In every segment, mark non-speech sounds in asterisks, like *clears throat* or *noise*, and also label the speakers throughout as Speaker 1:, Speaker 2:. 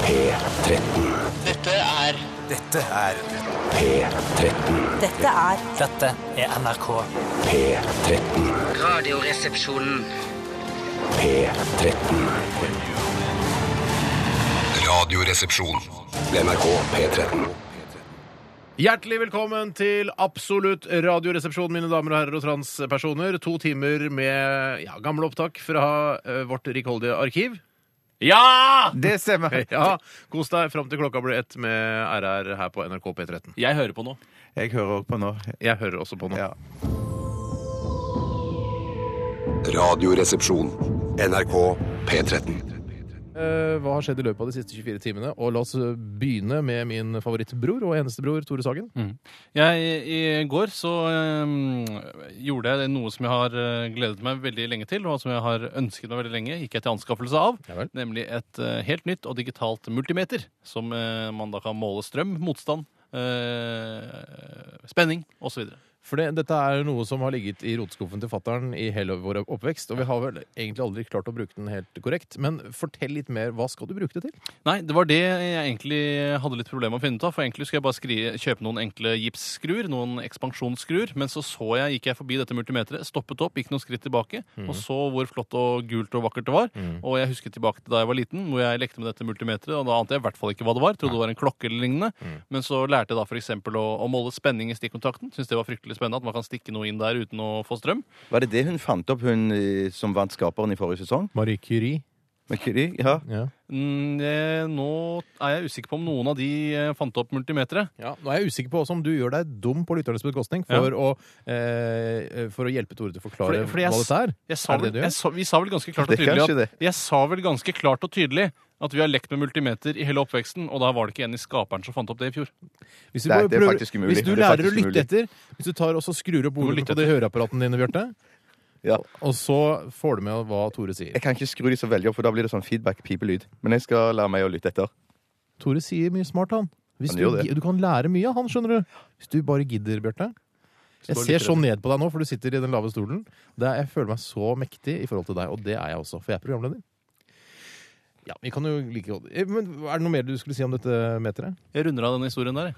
Speaker 1: P13.
Speaker 2: Dette er
Speaker 3: Dette er
Speaker 1: P13.
Speaker 4: Dette er
Speaker 5: Dette er NRK.
Speaker 1: P13.
Speaker 2: Radioresepsjonen.
Speaker 1: P13.
Speaker 6: Radioresepsjon.
Speaker 1: NRK P13.
Speaker 7: Hjertelig velkommen til Absolutt radioresepsjon, mine damer og herrer og transpersoner. To timer med ja, gamle opptak fra eh, vårt rikholdige arkiv.
Speaker 8: Ja!
Speaker 3: Det stemmer.
Speaker 7: *laughs* Ja, Kos deg fram til klokka blir ett med RR her på NRK P13.
Speaker 8: Jeg hører på nå.
Speaker 3: Jeg hører òg på nå.
Speaker 7: Jeg hører også på nå.
Speaker 3: Ja.
Speaker 6: Radioresepsjon. NRK P13.
Speaker 7: Eh, hva har skjedd i løpet av de siste 24 timene? Og la oss eh, begynne med min favorittbror og eneste bror, Tore Sagen.
Speaker 8: Jeg, I i går så øhm, gjorde jeg noe som jeg har øh, gledet meg veldig lenge til, og som jeg har ønsket meg veldig lenge, gikk jeg til anskaffelse av.
Speaker 7: Ja vel.
Speaker 8: Nemlig et øh, helt nytt og digitalt multimeter, som øh, man da kan måle strøm, motstand, øh, spenning osv.
Speaker 7: For det, dette er noe som har ligget i rotskuffen til fattern i hele vår oppvekst. Og vi har vel egentlig aldri klart å bruke den helt korrekt. Men fortell litt mer. Hva skal du bruke det til?
Speaker 8: Nei, det var det jeg egentlig hadde litt problemer med å finne ut av. For egentlig skulle jeg bare skri kjøpe noen enkle gipsskruer, noen ekspansjonsskruer. Men så så jeg, gikk jeg forbi dette multimeteret, stoppet opp, gikk noen skritt tilbake, og så hvor flott og gult og vakkert det var. Og jeg husket tilbake til da jeg var liten, hvor jeg lekte med dette multimeteret, og da ante jeg i hvert fall ikke hva det var. Trodde det var en klokke eller lignende. Men så lærte jeg da f.eks. Å, å måle spenning i stikkontakten. Syns det var fryktelig spennende at man kan stikke noe inn der uten å få strøm.
Speaker 9: Var det det hun fant opp, hun eh, som vant Skaperen i forrige sesong?
Speaker 7: Marie Curie.
Speaker 9: Med Curie? Ja.
Speaker 7: Ja.
Speaker 8: Mm, eh, nå er jeg usikker på om noen av de eh, fant opp multimeteret.
Speaker 7: Ja, nå er jeg usikker på også om du gjør deg dum på lytternes bekostning for, å, eh, for å hjelpe Tore til å forklare
Speaker 8: Fordi- fordi jeg
Speaker 7: hva dette er.
Speaker 8: Jeg sa
Speaker 7: Er det
Speaker 8: vel,
Speaker 7: det du gjør?
Speaker 8: jeg sa, vi sa vel ganske klart og
Speaker 9: Det er
Speaker 8: tydelig
Speaker 9: kanskje
Speaker 8: at, Jeg sa vel ganske klart og tydelig at vi har lekt med multimeter i hele oppveksten, og da var det ikke en i skaperen som fant opp det i fjor.
Speaker 7: Hvis du,
Speaker 9: Nei,
Speaker 7: bare
Speaker 9: det er faktisk umulig.
Speaker 7: hvis du
Speaker 9: Det er
Speaker 7: lærer å
Speaker 9: faktisk
Speaker 7: lytte etter, hvis du tar og så skrur opp
Speaker 8: må
Speaker 7: ordene
Speaker 8: lytte
Speaker 7: på de høreapparatene dine, Bjarte,
Speaker 9: Ja.
Speaker 7: og så får du med hva Tore sier.
Speaker 9: Jeg kan ikke skru de så veldig opp, for da blir det sånn feedback-pipelyd. Men jeg skal lære meg å lytte etter.
Speaker 7: Tore sier mye smart, han. Hvis
Speaker 9: Han
Speaker 7: du,
Speaker 9: gjør det.
Speaker 7: gi- du kan lære mye av han, skjønner du. Hvis du bare gidder, Bjarte. Jeg ser så ned på deg nå, for du sitter i den lave stolen. Det er, jeg føler meg så mektig i forhold til deg, og det er jeg også, for jeg er programleder. Ja, vi kan jo like godt Eh, Men Er det noe mer du skulle si om dette meteret?
Speaker 8: Jeg runder av denne historien der. jeg.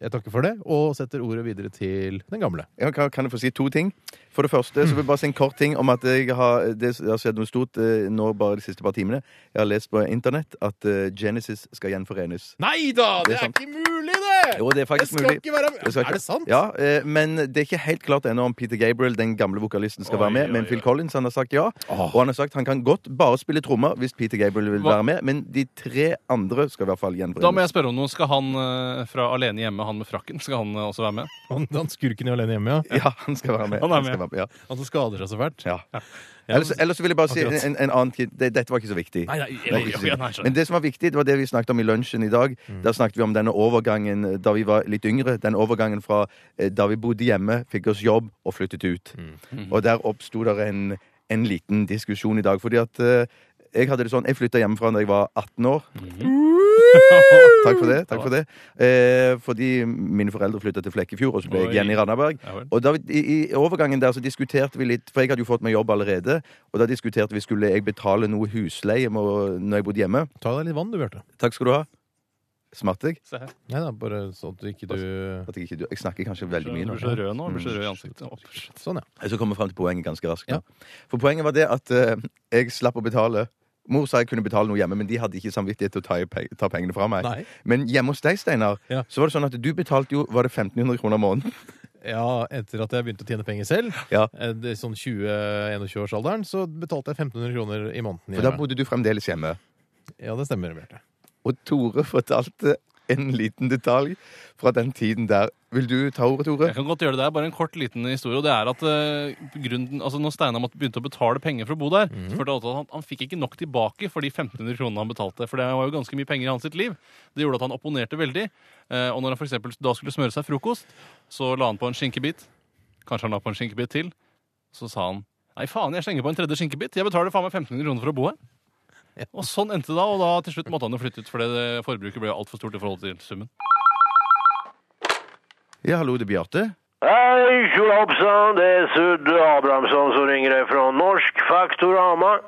Speaker 7: Jeg takker for det, og setter ordet videre til den gamle.
Speaker 9: Jeg kan, kan jeg få si to ting? For det første så vil jeg bare si en kort ting om at jeg har, det har skjedd noe stort eh, nå bare de siste par timene. Jeg har lest på internett at eh, Genesis skal gjenforenes.
Speaker 7: Nei da!
Speaker 9: Det er sant.
Speaker 7: ikke mulig, det!
Speaker 9: Jo, det er faktisk mulig.
Speaker 7: være
Speaker 9: Jeg skal ikke-
Speaker 7: Er det sant?
Speaker 9: Ja, eh, men det er ikke helt klart ennå om Peter Gabriel, den gamle vokalisten, skal
Speaker 7: Oi,
Speaker 9: være med.
Speaker 7: oi,
Speaker 9: Men
Speaker 7: oi.
Speaker 9: Phil Collins han har sagt ja. Og han har sagt han kan godt bare spille trommer hvis Peter Gabriel vil
Speaker 8: Hva-
Speaker 9: være med. Men de tre andre skal i hvert fall gjenforenes.
Speaker 8: Da må jeg spørre om noe. Skal han eh, fra Alene hjemme, han med frakken, skal han eh, også være med?
Speaker 7: *laughs* Han, han skurken i Alene hjemme, ja.
Speaker 9: *laughs* Ja, han skal være med.
Speaker 8: Han er
Speaker 9: skal
Speaker 8: med.
Speaker 9: være med, ja.
Speaker 7: Han som skader seg så fælt.
Speaker 9: Ja. Ellers, ellers så vil jeg bare si en,
Speaker 7: Akkurat.
Speaker 9: en en annen tid. Det, dette var ikke så viktig.
Speaker 8: Nei, nei,
Speaker 9: Det var ikke så
Speaker 8: ok,
Speaker 9: viktig.
Speaker 8: nei, skjønner. Mm.
Speaker 9: Men det som var viktig, det var det vi snakket om i lunsjen i dag. Der snakket vi om denne overgangen eh, da vi var litt yngre. Den overgangen fra eh, da vi bodde hjemme, fikk oss jobb og flyttet ut. Mm. Og der oppsto der en, en liten diskusjon i dag. Fordi at eh, jeg hadde det sånn, jeg flytta hjemmefra da jeg var 18 år. Takk for det. takk for det eh, Fordi mine foreldre flytta til Flekkefjord, og så ble
Speaker 8: Oi.
Speaker 9: jeg igjen i Randaberg.
Speaker 8: Ja vel.
Speaker 9: Og da, vi- i, I overgangen der så diskuterte vi litt, for jeg hadde jo fått meg jobb allerede. Og da diskuterte vi skulle jeg betale noe husleie må, når jeg bodde hjemme.
Speaker 7: Ta deg litt vann, du, Bjarte.
Speaker 9: Takk skal du ha. Smatt jeg?
Speaker 8: Se her.
Speaker 7: Nei da, bare sånn at du ikke du
Speaker 9: At jeg, ikke, jeg snakker kanskje veldig mye
Speaker 8: Blir
Speaker 9: nå.
Speaker 8: så rød nå. Blir så rød i ansiktet. Å, shit.
Speaker 7: Sånn, ja.
Speaker 9: Jeg skal komme frem til poenget ganske raskt. nå.
Speaker 7: Ja.
Speaker 9: For poenget var det at eh, jeg slapp å betale. Mor sa jeg kunne betale noe hjemme, men de hadde ikke samvittighet til å ta, i pe ta pengene fra meg.
Speaker 7: Nei.
Speaker 9: Men hjemme hos deg, Steinar,
Speaker 7: Ja.
Speaker 9: så var det sånn at du betalte jo var det 1500 kroner i måneden. *laughs*
Speaker 7: ja. Etter at jeg begynte å tjene penger selv,
Speaker 9: Ja.
Speaker 7: eh, det er sånn 20-21-årsalderen, så betalte jeg 1500 kroner i måneden.
Speaker 9: For da
Speaker 7: hjemme.
Speaker 9: bodde du fremdeles hjemme.
Speaker 7: Ja, det stemmer, Bjarte.
Speaker 9: Og Tore fortalte en liten detalj fra den tiden der. Vil du ta ordet, Tore?
Speaker 8: Jeg kan godt gjøre det der, bare en kort liten historie. og det er at eh, grunnen, altså Når Steinar måtte- begynte å betale penger for å bo der, så følte han at han, han fikk ikke nok tilbake for de 1500 kronene han betalte. For det var jo ganske mye penger i hans sitt liv. Det gjorde at han opponerte veldig. Eh, og når han for eksempel da skulle smøre seg frokost, så la han på en skinkebit. Kanskje han la på en skinkebit til. Så sa han Nei, faen, jeg slenger på en tredje skinkebit. Jeg betaler faen meg 1500 kroner for å bo her. Og sånn endte det da, og da til slutt måtte han jo flytte ut, fordi det forbruket ble altfor stort i forhold til summen.
Speaker 9: Ja, hallo, det er Bjarte.
Speaker 10: Hei, tjolahoppsann, *clears throat* det er Sudd Abrahamsson som ringer deg fra Norsk Faktorama.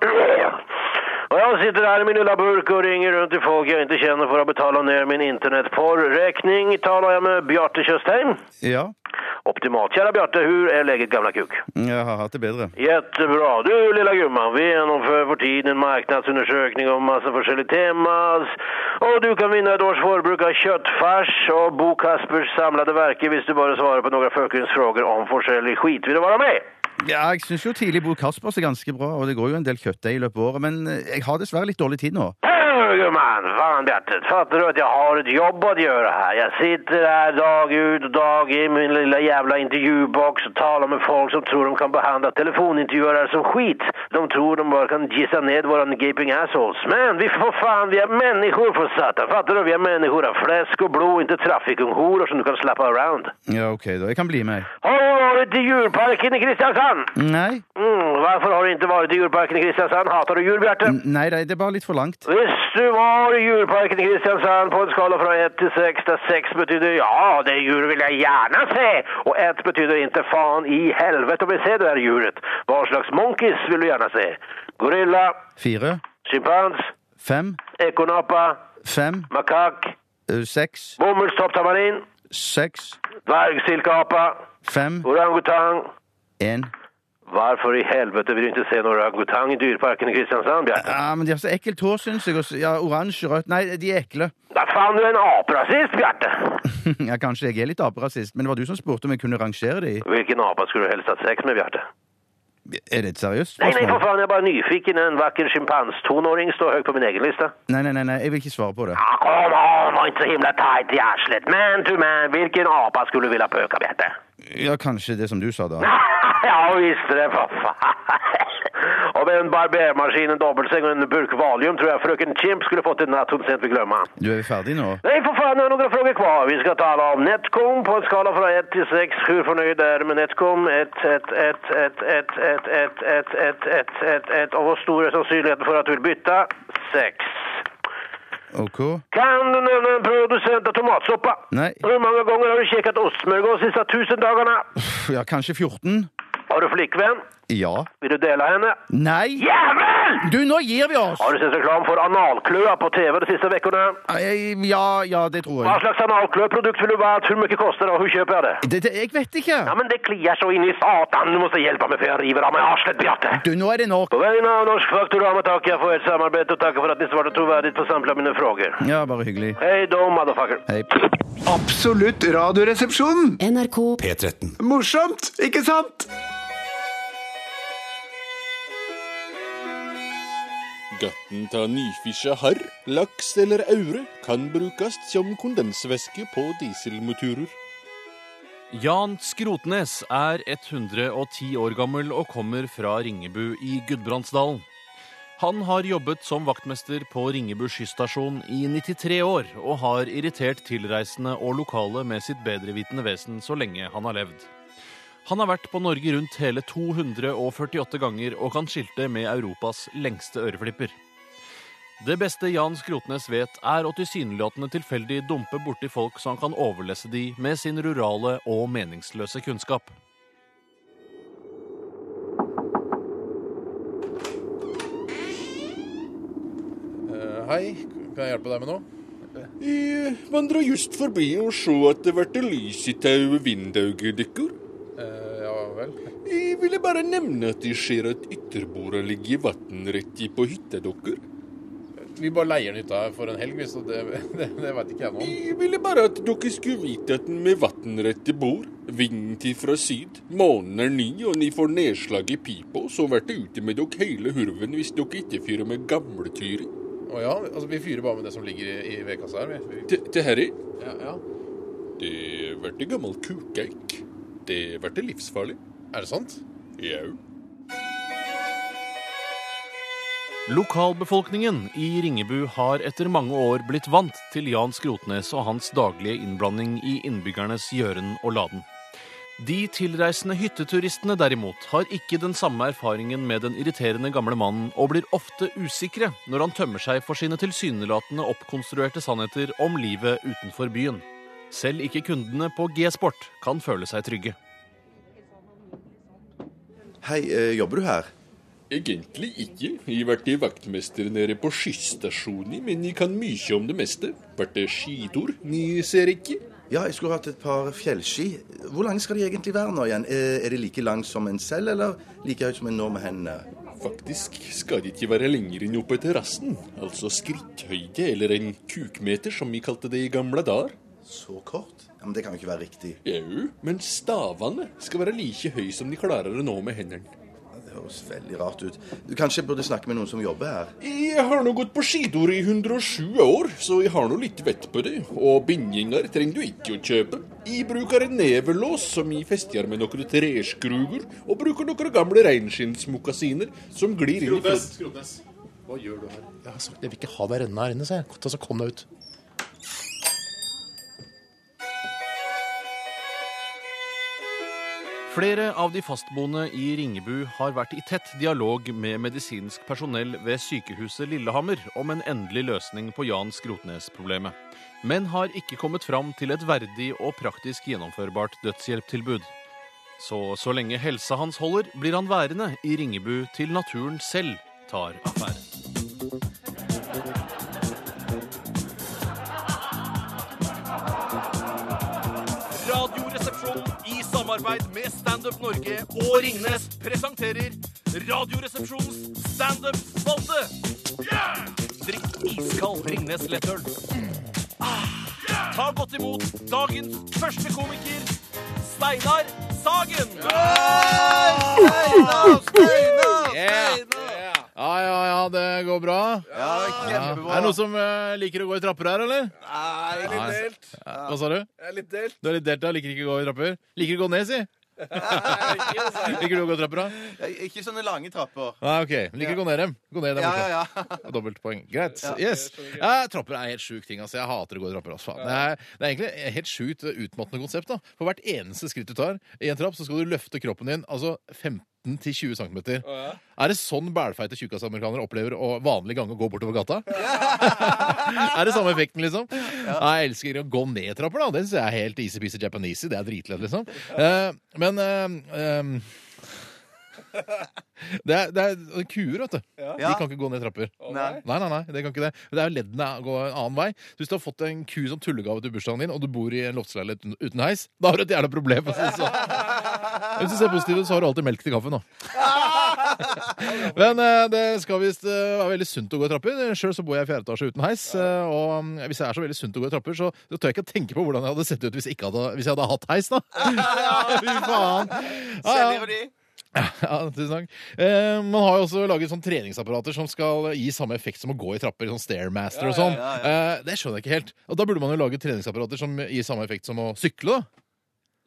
Speaker 10: Och jag sitter här i min lilla burk och ringer runt till folk jag inte känner för att betala ner min internetporrräkning. Talar jag med Bjarte Tjøstheim?
Speaker 11: Ja.
Speaker 10: Optimalt. Kära Bjarte, hur är läget gamla kuk?
Speaker 11: Jeg har hatt det bedre.
Speaker 10: Jättebra. Du lilla gumman, vi genomför för tiden en marknadsundersökning om massa olika temas. Och du kan vinna ett års förbruk av köttfärs och Bo Kaspers samlade verker hvis du bara svarar på några förkunskapsfrågor om forskjellig skit. Vill du vara med?
Speaker 11: Ja, jeg syns jo tidlig Bo Kaspers er ganske bra, og det går jo en del kjøttdeig i løpet av året, men jeg har dessverre litt dårlig tid nå.
Speaker 10: Hej, gumman! Fan Bjarte, fattar du att jag har ett jobb att göra här? Jag sitter här dag ut och dag in med min lilla jävla intervjubox och talar med folk som tror de kan behandla telefonintervjuare som skit. De tror de bara kan gissa ned våran gaping assholes. Men vi får fan, vi är människor för satan! Fattar du? Vi är människor av fläsk och blod, inte trafikunghoror som du kan slappa around.
Speaker 11: Ja, ok, da. Jeg kan bli med.
Speaker 10: Har du varit i djurparken i Kristiansand?
Speaker 11: Nei.
Speaker 10: Mm, varför har du inte varit i djurparken i Kristiansand? Hatar du djur, Bjarte?
Speaker 11: N- Nei, nei, det er bare litt for langt.
Speaker 10: Hvis du var i djurparken i Kristiansand på en skala fra 1 til 6, der 6 betyder ja, det djuret vil jeg gjerne se, og 1 betyder inte fan i helvete om jeg ser det der djuret. Hva slags monkeys vil du gjerne se? Gorilla,
Speaker 11: Fire,
Speaker 10: schimpans,
Speaker 11: fem,
Speaker 10: ekonapa,
Speaker 11: fem,
Speaker 10: makak,
Speaker 11: ø, seks,
Speaker 10: bomullstopptamarin,
Speaker 11: seks,
Speaker 10: dvergsilkeapa,
Speaker 11: fem,
Speaker 10: orangutang.
Speaker 11: én.
Speaker 10: Varför i helvete vill du inte se någon orangutang i dyrparken i Kristiansand, Bjarte?
Speaker 11: Ja, Ah, men de har så ekkelt hår, syns jeg. og så- Ja, Oransje, rødt Nei, de er ekle. *laughs*
Speaker 10: Da faen, du er en aprasist, Bjarte!
Speaker 11: Ja, Kanskje jeg er litt aperasist, men det var du som spurte om jeg kunne rangere de.
Speaker 10: Hvilken apa skulle du helst hatt sex med, Bjarte?
Speaker 11: Er det et seriøst
Speaker 10: Nej, nej, för
Speaker 11: spørsmål?
Speaker 10: fan, jag är bara nyfiken. En vacker schimpans-tonåring står högt på min egen lista.
Speaker 11: Nei, nei, nei, nei, jeg vil ikke svare på det.
Speaker 10: Ah, kom on, var inte så himla tight i arslet. Man to man, vilken apa skulle vilja pöka bättre?
Speaker 11: Ja, kanskje det som du sa, da.
Speaker 10: *laughs* ja, visst det, för fan. *laughs* Och med en barbermaskin, en dobbelsäng och en burk valium tror jag fröken Chimp skulle fått en natt hon sent vill glömma.
Speaker 11: Du er jo ferdig nå?
Speaker 10: Nej, för fan, jag har några frågor kvar. Vi ska tala om Netcom på en skala från 1 till 6. Hur förnöjd är du med Netcom? 1, 1, 1, 1, 1, 1, 1, 1, 1, 1, 1, 1. Och vad stor är sannsynligheten för att du vill byta? 6.
Speaker 11: OK?
Speaker 10: Kan du nämna en producent av tomatsoppa?
Speaker 11: Nej.
Speaker 10: Hur många gånger har du käkat ostsmörgås de sista tusen dagarna?
Speaker 11: Pff, Ja, kanskje 14?
Speaker 10: Har du flickvän?
Speaker 11: Ja.
Speaker 10: Vill du dela henne?
Speaker 11: Nei!
Speaker 10: Jävel!
Speaker 11: Du, nå gir vi oss!
Speaker 10: Har du sett reklam för analklöa på TV de sista veckorna?
Speaker 11: Nei, Ja, ja, det tror
Speaker 10: Vad
Speaker 11: jeg.
Speaker 10: slags analklöprodukt vill du ha? Hur mycket kostar det och hur köper jag det?
Speaker 11: Det, det, jeg vet
Speaker 10: Ja,
Speaker 11: ikke.
Speaker 10: men det kliar så in i satan. Du måste hjälpa mig för jag river av mig arslet, Beate.
Speaker 11: Du, nå er det nok.
Speaker 10: På vägen av Norsk Faktorama tackar jag för ert samarbete och tackar för att ni svarade trovärdigt på samtliga mina frågor.
Speaker 11: Ja, bare hyggelig.
Speaker 10: Hej då, motherfucker.
Speaker 11: Hei.
Speaker 12: Absolutt radioresepsjon.
Speaker 13: NRK
Speaker 14: P13.
Speaker 12: Morsomt, ikke sant?
Speaker 15: Gutten til nyfiska harr, laks eller aure kan brukes som kondensvæske på dieselmotorer.
Speaker 8: Jan Skrotnes er 110 år gammel og kommer fra Ringebu i Gudbrandsdalen. Han har jobbet som vaktmester på Ringebu skysstasjon i 93 år, og har irritert tilreisende og lokale med sitt bedrevitende vesen så lenge han har levd. Han har vært på Norge rundt hele 248 ganger og kan skilte med Europas lengste øreflipper. Det beste Jan Skrotnes vet, er å tilsynelatende tilfeldig dumpe borti folk så han kan overlesse de med sin rurale og meningsløse kunnskap.
Speaker 7: hei, kan jeg hjelpe deg med noe?
Speaker 15: Jeg vandrer just forbi og så at det ble lys i tau vinduet deres.
Speaker 7: ja vel.
Speaker 15: Jeg ville bare nevne at jeg ser at ytterbordet ligger i vann rett i på hytta deres.
Speaker 7: Vi bare leier den hytta for en helg, hvis det, det, *laughs* det veit ikke jeg noe om.
Speaker 15: Jeg ville bare at dere skulle vite at med vannrett i bord, vinden til fra syd, månen er ny og ni får nedslag i pipa, så blir det ute med dere hele hurven hvis dere ikke fyrer med gamletyri.
Speaker 7: Å ja, altså Vi fyrer bare med det som ligger i, i vedkassa her. Vi,
Speaker 15: Det, det her
Speaker 7: vi,
Speaker 15: er
Speaker 7: ja, ja.
Speaker 15: Det blir gammel kukeik. Det blir livsfarlig.
Speaker 7: Er det sant?
Speaker 15: Jau.
Speaker 8: Lokalbefolkningen i Ringebu har etter mange år blitt vant til Jan Skrotnes og hans daglige innblanding i innbyggernes gjøren og laden. De tilreisende hytteturistene derimot har ikke den samme erfaringen med den irriterende gamle mannen, og blir ofte usikre når han tømmer seg for sine tilsynelatende oppkonstruerte sannheter om livet utenfor byen. Selv ikke kundene på G-Sport kan føle seg trygge.
Speaker 11: Hei, eh, jobber du her?
Speaker 15: Egentlig ikke. Jeg har vært vaktmester nede på skysstasjonen, men jeg kan mye om det meste. Vært det skitur, ni ser ikke.
Speaker 11: Ja, jeg skulle hatt et par fjellski. Hvor lange skal de egentlig være nå igjen? Eh, Er de like lang som en selv, eller like høyt som en nå med hendene?
Speaker 15: Faktisk skal det ikke være lenger enn oppe til rassen, altså skritthøyde eller en kukmeter, som vi kalte det i gamle dager.
Speaker 11: Så kort? Ja, men Det kan jo ikke være riktig.
Speaker 15: Jau, men stavene skal være like høye som de klarer å nå med hendene.
Speaker 11: Det høres veldig rart ut. Du kanskje burde snakke med noen som jobber her.
Speaker 15: Jeg har nå gått på skitur i 107 år, så jeg har nå litt vett på det. Og bindinger trenger du ikke å kjøpe. Jeg bruker en nevelås som jeg fester med noen treskruer, og bruker noen gamle reinskinnmokasiner som glir inn i
Speaker 4: Skrotnes,
Speaker 15: flot-
Speaker 4: Skrotnes. Hva gjør du her?
Speaker 16: Jeg har sagt jeg vil ikke ha deg rennende her inne, sa jeg. Ta så kom deg ut.
Speaker 8: Flere av de fastboende i Ringebu har vært i tett dialog med medisinsk personell ved sykehuset Lillehammer om en endelig løsning på Jan Skrotnes-problemet, men har ikke kommet fram til et verdig og praktisk gjennomførbart dødshjelptilbud. Så så lenge helsa hans holder, blir han værende i Ringebu til naturen selv tar affære. Radioresepsjonen i samarbeid med Standup Norge og Ringnes presenterer Radioresepsjonens standup-spalte. Yeah! Drikk iskald Ringnes lettøl. Ah! Ta godt imot dagens første komiker, Steinar Sagen.
Speaker 7: Ja, ja, ja, det går bra. Er det noen som eh, liker å gå i trapper her, eller?
Speaker 4: Nei, litt
Speaker 7: Nei.
Speaker 4: delt.
Speaker 7: Hva sa du?
Speaker 4: Jeg er litt delt.
Speaker 7: Du er litt delt, ja. Liker ikke å gå i trapper? Liker å gå ned, si.
Speaker 4: *laughs* altså.
Speaker 7: Liker du å gå i trapper, da?
Speaker 11: Ikke sånne lange trapper.
Speaker 7: Nei, Ah, ok. Liker å gå ned dem. Gå ned dem borte.
Speaker 4: ja.
Speaker 7: Dobbeltpoeng. Greit. Yes. Ja, trapper er helt sjuk ting. altså. Jeg hater å gå i trapper. altså. Faen. Det, er, det er egentlig et helt sjukt utmattende konsept. da. For hvert eneste skritt du tar i en trapp, så skal du løfte kroppen din altså 15-20 cm. Er det sånn bælfeite tjukkasamerikanere opplever å vanlig gange å gå bortover gata? *laughs* er det samme effekten, liksom? Nei, jeg elsker å gå ned trapper, da. Det syns jeg er helt easy-peasy japanese. Det er dritlett, liksom. Eh, men eh, eh, det er, det er kuer, vet du. De kan ikke gå ned trapper.
Speaker 11: Nei.
Speaker 7: Nei, nei, nei, det kan ikke det. Men Det er jo leddene går en annen vei. Så hvis du har fått en ku som tullegave til bursdagen din, og du bor i en loftsleilighet uten- uten heis, da har du et jævla problem. for å si det sånn. Hvis du ser positivt ut, så har du alltid melk til kaffen, da. Men eh, det skal visst eh, være veldig sunt å gå i trapper. Sjøl så bor jeg i fjerde etasje uten heis. eh, og mm, hvis jeg er så veldig sunt å gå i trapper, så, så tør jeg ikke å tenke på hvordan jeg hadde sett ut hvis, jeg ikke hadde, hvis jeg hadde hatt heis, da. Fy faen. Ja, ja. *laughs* Ja, tusen takk. Eh, man har jo også laget sånn treningsapparater som skal gi samme effekt som å gå i trapper. Sånn Stairmaster og sånn. Eh, det skjønner jeg ikke helt. Og da burde man jo lage treningsapparater som gir samme effekt som å sykle, da.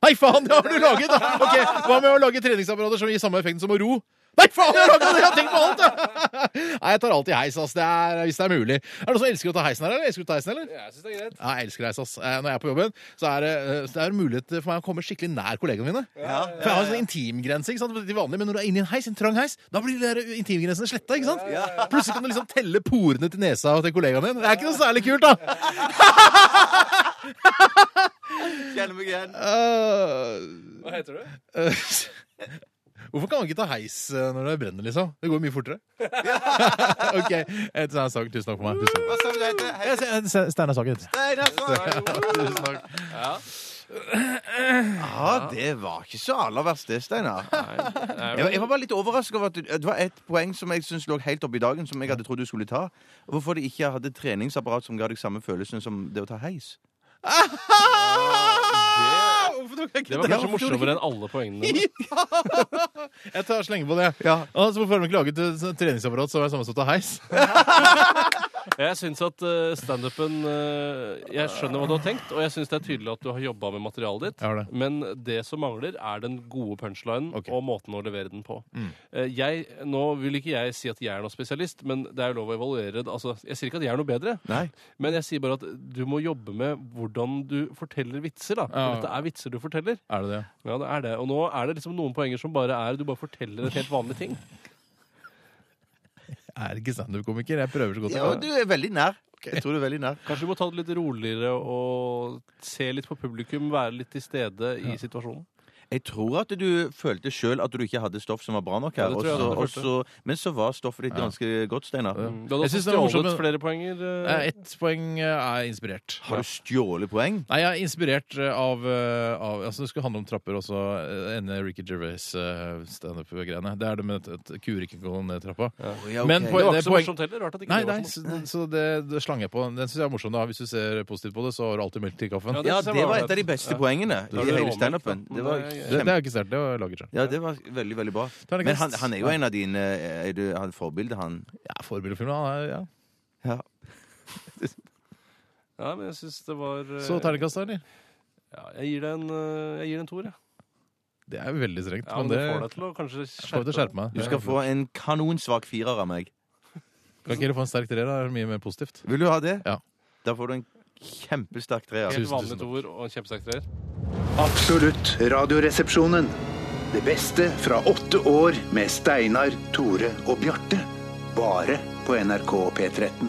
Speaker 7: Nei, faen! Det har du laget, da! Ok, Hva med å lage treningsapparater som gir samme effekt som å ro? Nei, faen! Jeg har laget det! Jeg har tenkt på alt! jeg! *laughs* Nei, jeg tar alltid heis, ass. Det er, hvis det er mulig. Er det noen som elsker å ta heisen her, eller? Elsker du å ta heisen, eller?
Speaker 4: Jeg syns det er greit.
Speaker 7: Ja, jeg elsker deg, Sass. Eh, Når jeg er på jobben, så er det, eh, så er det mulighet for meg å komme skikkelig nær kollegaene mine. For jeg har en sånn intimgrense ikke sant, til vanlig, men når du er inne i en heis, en trang heis, da blir de der intimgrensene sletta. ikke sant? Plutselig kan du liksom telle porene til nesa til kollegaen din. Det er ikke noe særlig kult, *laughs* da.
Speaker 11: Kjenner meg igjen.
Speaker 7: Eh,
Speaker 4: Hva heter du?
Speaker 7: eh, *laughs* Hvorfor kan man ikke ta heis eh, når det brenner, liksom? Det går mye *laughs* fortere. *laughs* OK. eh, Steinar Sagen, tusen takk for meg. Tusen takk.
Speaker 11: sa du det heter?
Speaker 7: Eh, Ste- Steinar Sagen. Tusen takk.
Speaker 11: Ja, det var ikke så aller verst, det, Steinar. *laughs* Jeg, var- jeg var bare litt overrasket over at du- det var et poeng som jeg synes lå helt oppe i dagen, som jeg hadde trodd du skulle ta. Hvorfor de ikke hadde treningsapparat som ga deg samme følelsen som det å ta heis.
Speaker 8: Det var kanskje morsommere enn alle poengene. dine.
Speaker 7: Jeg tar slenge på det.
Speaker 11: Ja.
Speaker 7: Altså, hvorfor har de ikke laget et sånt treningsapparat som er sammensatt av heis?
Speaker 8: Jeg syns at eh, standupen eh, Jeg skjønner hva du har tenkt, og jeg syns det er tydelig at du har jobba med materialet ditt.
Speaker 7: Jeg har det.
Speaker 8: Men det som mangler, er den gode punchlinen
Speaker 7: Ok. Mm.
Speaker 8: og måten å levere den på. Eh, Jeg, nå vil ikke jeg si at jeg er noen spesialist, men det er jo lov å evaluere det. Altså, jeg sier ikke at jeg er noe bedre,
Speaker 11: Nei.
Speaker 8: men jeg sier bare at du må jobbe med hvordan du forteller vitser. da. For
Speaker 7: Ja.
Speaker 8: dette er vitser du forteller.
Speaker 7: *laughs* Er det det?
Speaker 8: Ja, det er det. Og nå er det liksom noen poenger som bare er Du bare forteller et helt vanlig ting.
Speaker 7: Jeg er ikke standup-komiker. Jeg prøver så godt jeg
Speaker 11: Ja,
Speaker 7: kan.
Speaker 11: du er veldig nær. Jeg tror du er veldig nær.
Speaker 8: Kanskje du må ta det litt roligere og se litt på publikum, være litt til stede i situasjonen.
Speaker 9: Jeg tror at du følte sjøl at du ikke hadde stoff som var bra nok
Speaker 8: Ja,
Speaker 9: her.
Speaker 8: det tror jeg
Speaker 9: og så-
Speaker 8: det
Speaker 9: og
Speaker 8: første.
Speaker 9: så- men så var stoffet ditt
Speaker 7: Ja.
Speaker 9: ganske godt, Steinar.
Speaker 7: Du hadde Jeg også synes det var stjålet morsomt, men- flere
Speaker 8: poenger.
Speaker 7: Eh, Ett poeng eh, er inspirert.
Speaker 9: Har du stjålet poeng?
Speaker 7: Nei, jeg er inspirert eh, av, eh, av altså Det skulle handle om trapper også. eh, Ene Ricky Gervais-standup-greiene. Det er det med at at kuer ikke går ned trappa.
Speaker 8: Å, ja, ok.
Speaker 7: Men
Speaker 8: Det
Speaker 7: poen-
Speaker 8: var
Speaker 7: det
Speaker 8: ikke så
Speaker 7: poen-
Speaker 8: morsomt heller, rart at ikke
Speaker 7: Nei,
Speaker 8: det var
Speaker 7: nei,
Speaker 8: så
Speaker 7: så, så det, det slang jeg på. Den syns jeg er morsom. da Hvis du ser positivt på det, så har du alltid melk til kaffen.
Speaker 9: Ja, det Ja, synes jeg det var var et av de ålreit. beste Ja. poengene i hele standupen. Det var
Speaker 7: det,
Speaker 9: kjempe-
Speaker 7: det er ikke sterkt. Det var laget selv.
Speaker 9: Ja, det var veldig, veldig bra.
Speaker 7: Terningkast.
Speaker 9: Men han, han er jo
Speaker 7: Ja.
Speaker 9: en av dine Er du han forbilde, han?
Speaker 7: Ja, forbildefilm. Han er, ja.
Speaker 9: Ja.
Speaker 8: Ja, men jeg syns det var eh,
Speaker 7: Så terningkast, da, eller?
Speaker 8: Ja, jeg gir det en, eh, jeg gir det en toer, jeg.
Speaker 7: Det er veldig strengt.
Speaker 8: Ja, men
Speaker 7: men
Speaker 8: du får
Speaker 7: det,
Speaker 8: deg til å kanskje
Speaker 7: Jeg får deg til å skjerpe meg.
Speaker 9: Du skal få en kanonsvak firer av meg.
Speaker 7: kan ikke dere få en sterk treer? da? Det er mye mer positivt.
Speaker 9: Vil du ha det?
Speaker 7: Ja.
Speaker 9: Da får du en kjempesterk treer.
Speaker 8: Helt vanlig toer og en kjempesterk treer.
Speaker 17: Absolutt Radioresepsjonen. Det beste fra åtte år med Steinar, Tore og Bjarte. Bare på NRK P13.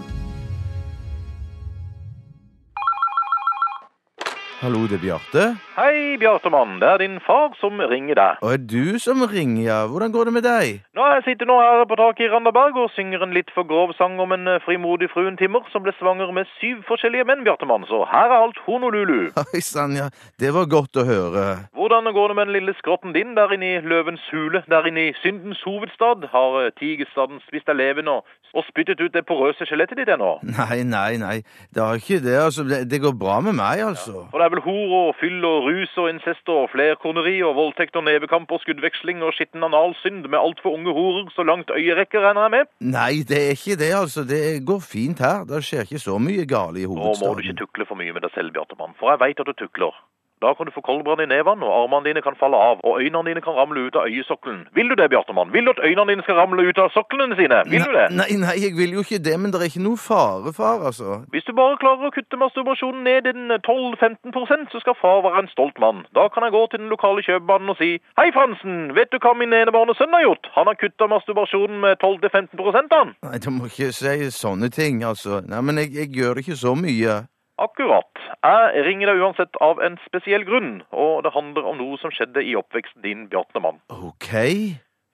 Speaker 9: Hallo, det er Bjarte.
Speaker 10: Hei, Bjartemann. Det er din far som ringer deg.
Speaker 9: Og er du som ringer, ja. Hvordan går det med deg?
Speaker 10: Nå, Jeg sitter nå her på taket i Randaberg og synger en litt for grov sang om en eh, frimodig fruentimer som ble svanger med syv forskjellige menn, Bjartemann. Så her er alt honolulu.
Speaker 9: *laughs* Oi sann, ja. Det var godt å høre.
Speaker 10: Hvordan går det med den lille skrotten din der inne i løvens hule, der inne i syndens hovedstad? Har eh, tigerstaden spist deg levende og, og spyttet ut det porøse skjelettet ditt ennå?
Speaker 9: Nei, nei, nei. Det har ikke det, altså. Det, det går bra med meg, altså.
Speaker 10: For det er vel hor og fyll og rus og incest og flerkoneri og voldtekt og nevekamp og skuddveksling og skitten analsynd med altfor unge horer så langt øyet rekker, regner jeg med?
Speaker 9: Nei, det er ikke det, altså. Det går fint her. Det skjer ikke så mye gale i
Speaker 10: Nå må du
Speaker 9: hovedstaden.
Speaker 10: ikke tukle for mye med deg selv, Bjartemann, for jeg veit at du tukler. Da kan du få koldbrann i nevene, og armene dine kan falle av, og øynene dine kan ramle ut av øyesokkelen. Vil du det, Bjartemann? Vil du at øynene dine skal ramle ut av soklene sine? Vil du det?
Speaker 9: Nei, nei, jeg vil jo ikke det, men det er ikke noe fare, far, altså.
Speaker 10: Hvis du bare klarer å kutte masturbasjonen ned i den 12-15 prosent, så skal far være en stolt mann. Da kan jeg gå til den lokale kjøpebanen og si Hei, Fransen, vet du hva min enebarne sønn har gjort? Han har kutta masturbasjonen med 12-15 prosent, han.
Speaker 9: Nei, du må ikke si sånne ting, altså. Nei, men jeg, jeg gjør ikke så mye.
Speaker 10: Akkurat. Jeg ringer deg uansett av en spesiell grunn, og det handler om noe som skjedde i oppveksten din, Bjartemann.
Speaker 9: OK?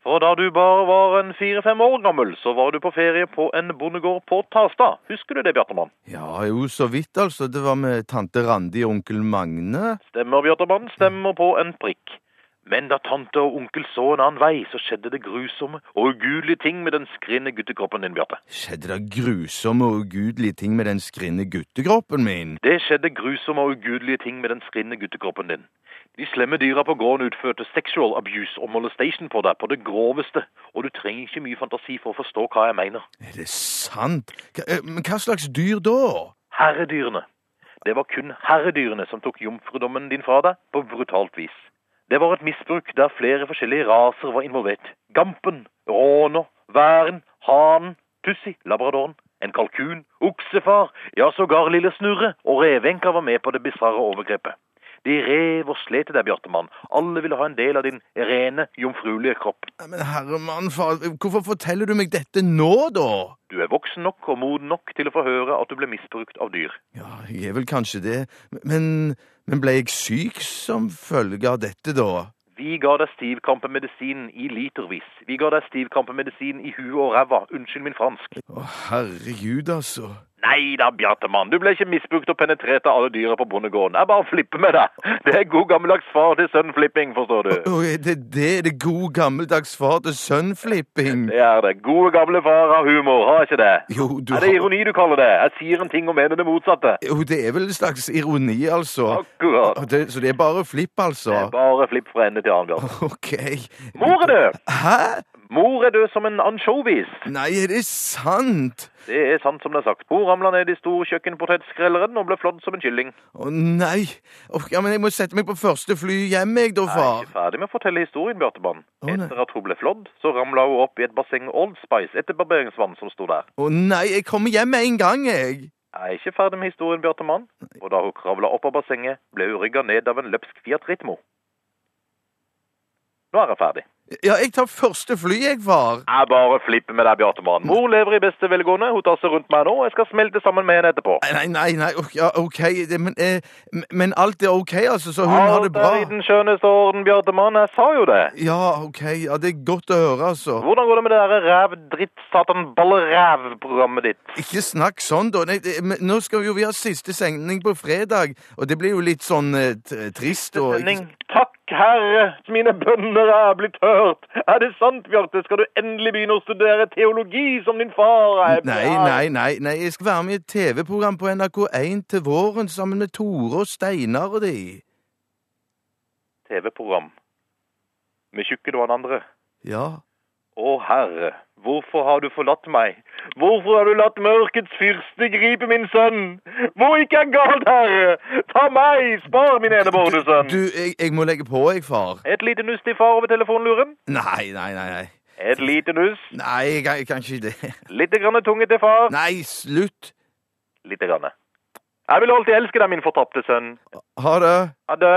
Speaker 10: For da du bare var en fire-fem år gammel, så var du på ferie på en bondegård på Tasta. Husker du det, Bjartemann?
Speaker 9: Ja, jo, så vidt, altså. Det var med tante Randi og onkel Magne.
Speaker 10: Stemmer, Bjartemann, stemmer på en prikk. Men da tante og onkel så en annen vei, så skjedde det grusomme og ugudelige ting med den skrinne guttekroppen din, Bjarte.
Speaker 9: Skjedde det grusomme og ugudelige ting med den skrinne guttekroppen min?
Speaker 10: Det skjedde grusomme og ugudelige ting med den skrinne guttekroppen din. De slemme dyra på gården utførte sexual abuse og molestation på deg på det groveste, og du trenger ikke mye fantasi for å forstå hva jeg mener.
Speaker 9: Er det sant? Hva, eh, men hva slags dyr da?
Speaker 10: Herredyrene. Det var kun herredyrene som tok jomfrudommen din fra deg på brutalt vis. Det var et misbruk der flere forskjellige raser var involvert. Gampen, råner, væren, hanen, tussi, labradoren, en kalkun, oksefar, ja sågar lille snurre og revenka var med på det bisarre overgrepet. De rev og slet i deg, Bjartemann. Alle ville ha en del av din rene, jomfruelige kropp.
Speaker 9: Nei, men herre mann, far, hvorfor forteller du meg dette nå, da?
Speaker 10: Du er voksen nok og moden nok til å få høre at du ble misbrukt av dyr.
Speaker 9: Jeg er vel kanskje det, men, men ble jeg syk som følge av dette, da?
Speaker 10: Vi ga deg stivkrampemedisin i litervis. Vi ga deg stivkrampemedisin i huet og ræva. Unnskyld min fransk.
Speaker 9: Å, herregud, altså.
Speaker 10: Nei da, Bjartemann. Du ble ikke misbrukt og penetrert av alle dyra på bondegården. Jeg bare flipper med deg. Det er god gammeldags far til sønn-flipping, forstår du.
Speaker 9: Å, er det det? Er det god gammeldags far til sønnflipping?
Speaker 10: Det er det. Gode gamle far har humor, har ikke det?
Speaker 9: Jo, du
Speaker 10: Er det
Speaker 9: har-
Speaker 10: ironi du kaller det? Jeg sier en ting og mener det motsatte.
Speaker 9: Jo, det er vel en slags ironi, altså.
Speaker 10: Akkurat.
Speaker 9: Og Det, så det er bare flipp, altså?
Speaker 10: Bare flipp fra ende til annen, Bjarte.
Speaker 9: OK.
Speaker 10: Mor er død!
Speaker 9: Hæ?
Speaker 10: Mor er død som en ansjovis.
Speaker 9: Nei, er det sant?
Speaker 10: Det er sant som det er sagt. Mor ramla ned i stor kjøkkenpotetskrelleren og ble flådd som en kylling.
Speaker 9: Å nei. Å, ja, men jeg må sette meg på første fly hjem, jeg, da,
Speaker 10: Jeg er
Speaker 9: far.
Speaker 10: ikke ferdig med å fortelle historien, Bjartemann.
Speaker 9: Å, nei.
Speaker 10: Etter at hun ble flådd, så ramla hun opp i et basseng Old Spice etter barberingsvann som sto der.
Speaker 9: Å nei, jeg kommer hjem med en gang, jeg.
Speaker 10: Jeg er ikke ferdig med historien, Bjartemann. Og da hun kravla opp av bassenget, ble hun rygga ned av en løpsk Fiat Ritmo. Nå er jeg ferdig.
Speaker 9: Ja, jeg tar første fly, jeg, far.
Speaker 10: Jeg bare flipper med deg, Bjarte Mann. Mor lever i beste velgående. Hun tasser rundt meg nå. og Jeg skal smelte sammen med henne etterpå.
Speaker 9: Nei, nei, nei, ok, ja, OK, det, men, eh, m- men alt er OK, altså, så hun har det
Speaker 10: Alt er i
Speaker 9: bra?
Speaker 10: den skjønneste orden, Bjarte Mann. Jeg sa jo det.
Speaker 9: Ja, OK, ja, det er godt å høre, altså.
Speaker 10: Hvordan går det med det derre ræv dritt satan balleræv programmet ditt?
Speaker 9: Ikke snakk sånn, da. Nei, det, men, nå skal jo vi ha siste sending på fredag, og det blir jo litt sånn eh, t- trist og ikke-
Speaker 10: Sending. Takk, Herre, mine bønner er blitt hørt. Er det sant, Bjarte? Skal du endelig begynne å studere teologi som din far? er?
Speaker 9: Nei, nei, nei, nei, jeg skal være med i et TV-program på NRK1 til våren sammen med Tore og Steinar og de.
Speaker 10: TV-program med tjukke du og han andre.
Speaker 9: Ja.
Speaker 10: Å Herre, hvorfor har du forlatt meg? Hvorfor har du latt mørkets fyrste gripe min sønn? Hvor gikk jeg galt, Herre? Ta meg, spar min enebårne sønn.
Speaker 9: Du, jeg, jeg må legge på, jeg, far.
Speaker 10: Et lite nuss til far over telefonluren.
Speaker 9: Nei, nei, nei. nei.
Speaker 10: Et lite nuss.
Speaker 9: Nei, jeg kan, jeg kan ikke det. *laughs*
Speaker 10: Litt grann tunge til far.
Speaker 9: Nei, slutt.
Speaker 10: Litt grann. Jeg vil alltid elske deg, min fortapte sønn.
Speaker 9: Ha det.
Speaker 10: Ha det.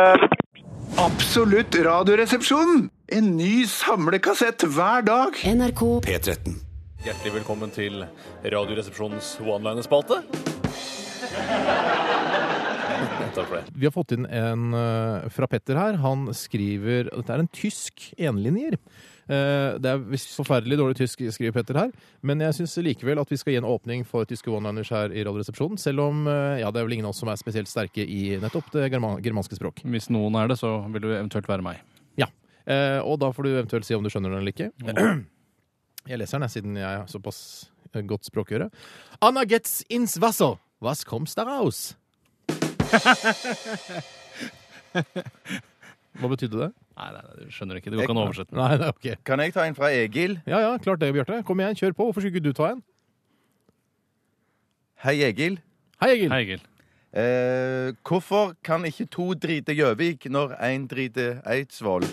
Speaker 17: Absolutt radioresepsjon! En ny samlekassett hver dag. NRK
Speaker 6: P13.
Speaker 8: Hjertelig velkommen til Radioresepsjonens one-liner-spalte. Takk for det.
Speaker 7: Vi har fått inn en eh, fra Petter her. Han skriver Dette er en tysk enlinjer. Eh, det er visst forferdelig dårlig tysk, skriver Petter her. Men jeg syns likevel at vi skal gi en åpning for tyske one-liners her i Radioresepsjonen. Selv om eh, ja, det er vel ingen av oss som er spesielt sterke i nettopp det germa- germanske språk.
Speaker 8: Hvis noen er det, så vil du eventuelt være meg.
Speaker 7: Ja. Eh, og da får du eventuelt si om du skjønner den eller ikke. Jeg leser den, jeg, siden jeg har såpass eh, godt språkøre. Anna gets ins Wasser. Was komst daraus? *laughs* Hva betydde det?
Speaker 8: Nei, nei, nei, du skjønner ikke. Det går ikke an å oversette.
Speaker 7: Nei, nei, ok.
Speaker 9: Kan jeg ta en fra Egil?
Speaker 7: Ja, ja, klart det, Bjarte. Kom igjen, kjør på. Hvorfor skulle ikke du ta en?
Speaker 9: Hei, Egil.
Speaker 7: Hei, Egil.
Speaker 9: Eh, hvorfor kan ikke to drite Gjøvik når én driter Eidsvoll?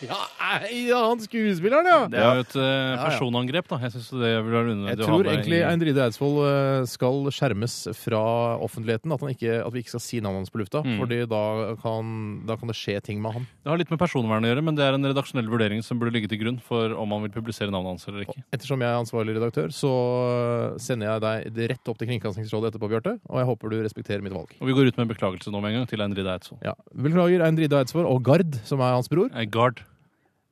Speaker 7: Ja, ei, ja, han skuespilleren, ja!
Speaker 8: Det er jo et eh,
Speaker 7: ja.
Speaker 8: personangrep, da. Jeg synes det vil være unødvendig
Speaker 7: Jeg
Speaker 8: å ha
Speaker 7: tror
Speaker 8: med
Speaker 7: egentlig
Speaker 8: i-
Speaker 7: Eindride Eidsvoll eh, skal skjermes fra offentligheten. At, han ikke, at vi ikke skal si navnet hans på lufta.
Speaker 8: Mm.
Speaker 7: Fordi da kan, da kan det skje ting med han.
Speaker 8: Det har litt med personvern å gjøre, men det er en redaksjonell vurdering som burde ligge til grunn for om man vil publisere navnet hans eller ikke.
Speaker 7: Ettersom jeg er ansvarlig redaktør, så eh, sender jeg deg det rett opp til Kringkastingsrådet etterpå, Bjarte. Og jeg håper du respekterer mitt valg.
Speaker 8: Og vi går ut med en beklagelse nå med en gang til Eindride Eidsvoll.
Speaker 7: Ja. Beklager Eindride Eidsvoll og Gard, som er hans bror.
Speaker 8: Gard.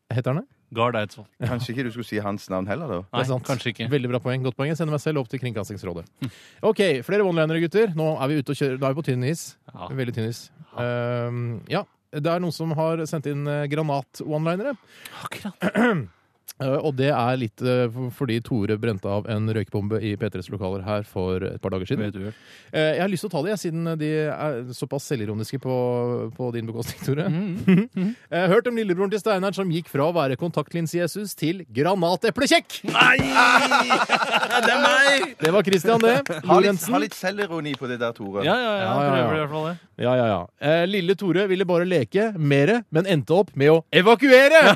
Speaker 7: Heter han det?
Speaker 8: Gard Eidsvoll.
Speaker 9: Kanskje ikke du skulle si hans navn heller, da?
Speaker 7: Det er sant. Veldig bra poeng. Godt poeng. Jeg sender meg selv opp til Kringkastingsrådet. *laughs* Ok, flere one-linere, gutter. Nå er vi ute og kjører. Da er vi på tynn is. Veldig tynn is. Ehm, ja. Det er noen som har sendt inn eh, granat-one-linere. *clears throat* Eh, og det er litt eh, for- fordi Tore brente av en røykbombe i P3s lokaler her for et par dager siden. Eh, jeg har lyst til å ta det, jeg, siden de er såpass selvironiske på, på din bekostning, Tore. *laughs* Eh, hørt om lillebroren til Steinar som gikk fra å være kontaktlinse-Jesus til granateplekjekk!
Speaker 9: Det er meg!
Speaker 7: Det var Christian, *laughs* det.
Speaker 9: Ha litt,
Speaker 7: Lorentzen.
Speaker 9: ha litt selvironi på det der, Tore.
Speaker 8: Ja, ja, ja.
Speaker 7: Ja, ja, ja.
Speaker 8: Prøver i hvert fall det.
Speaker 7: Ja, ja, ja. Eh, lille Tore ville bare leke mere, men endte opp med å evakuere!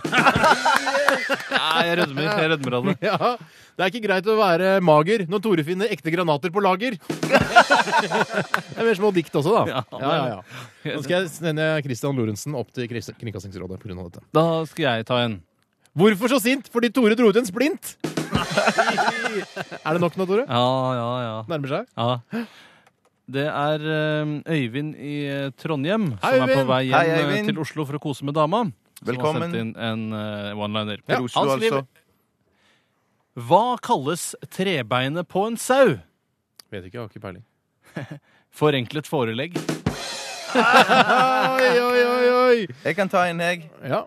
Speaker 8: Nei, jeg rødmer. Jeg rødmer av det.
Speaker 7: *laughs* Ja, Det er ikke greit å være mager når Tore finner ekte granater på *laughs* lager. Det er mer små dikt også, da. Ja, ja, ja. Nå skal jeg sende Christian Lorentzen opp til Krist- Kringkastingsrådet pga. dette.
Speaker 8: *laughs* Da skal jeg ta en.
Speaker 7: Hvorfor så sint? Fordi Tore dro ut en splint! *laughs* Er det nok nå, Tore?
Speaker 8: Ja, ja, ja.
Speaker 7: Nærmer seg?
Speaker 8: Ja. Det er eh, Øyvind i eh, Trondheim
Speaker 7: Hei,
Speaker 8: som er på
Speaker 7: Øyvind.
Speaker 8: vei hjem
Speaker 7: Hei,
Speaker 8: eh,
Speaker 7: Øyvind.
Speaker 8: til Oslo for å kose med dama. Som
Speaker 7: Velkommen.
Speaker 8: har sendt inn en eh, one-liner.
Speaker 7: Til Oslo,
Speaker 8: Han skriver,
Speaker 7: altså.
Speaker 8: Hva kalles trebeinet på en sau?
Speaker 7: Vet ikke, jeg har ikke peiling.
Speaker 8: Forenklet forelegg.
Speaker 7: oi, oi, oi, oi.
Speaker 9: Jeg kan ta en, jeg.
Speaker 7: Ja.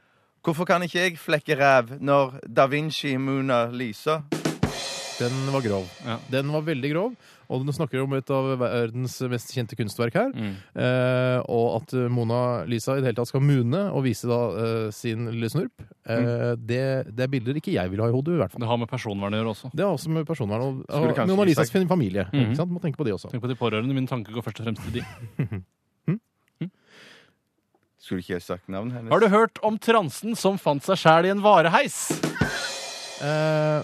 Speaker 9: Hvorfor kan ikke jeg flekke ræv når Da Vinci Mona Lisa
Speaker 7: Den var grov. Den var veldig grov. Og du snakker om et av verdens mest kjente kunstverk her.
Speaker 8: Mm.
Speaker 7: Eh, og at Mona Lisa i det hele tatt skal mune og vise da eh, sin lille snurp, eh,
Speaker 8: Mm.
Speaker 7: det, det er bilder ikke jeg vil ha i hodet. i hvert fall.
Speaker 8: Det har med personvern å gjøre også.
Speaker 7: Det er også med personvern og,
Speaker 8: Skulle
Speaker 7: og
Speaker 8: kanskje
Speaker 7: Mona Lisas
Speaker 8: Isak-
Speaker 7: familie.
Speaker 8: Mhm.
Speaker 7: ikke sant? Må tenke på de også.
Speaker 8: Tenk på de pårørende. Mine tanker går først og fremst til de.
Speaker 9: Skulle ikke jeg sagt navnet hennes?
Speaker 8: Har du hørt om transen som fant seg sjæl i en vareheis?
Speaker 7: Eh,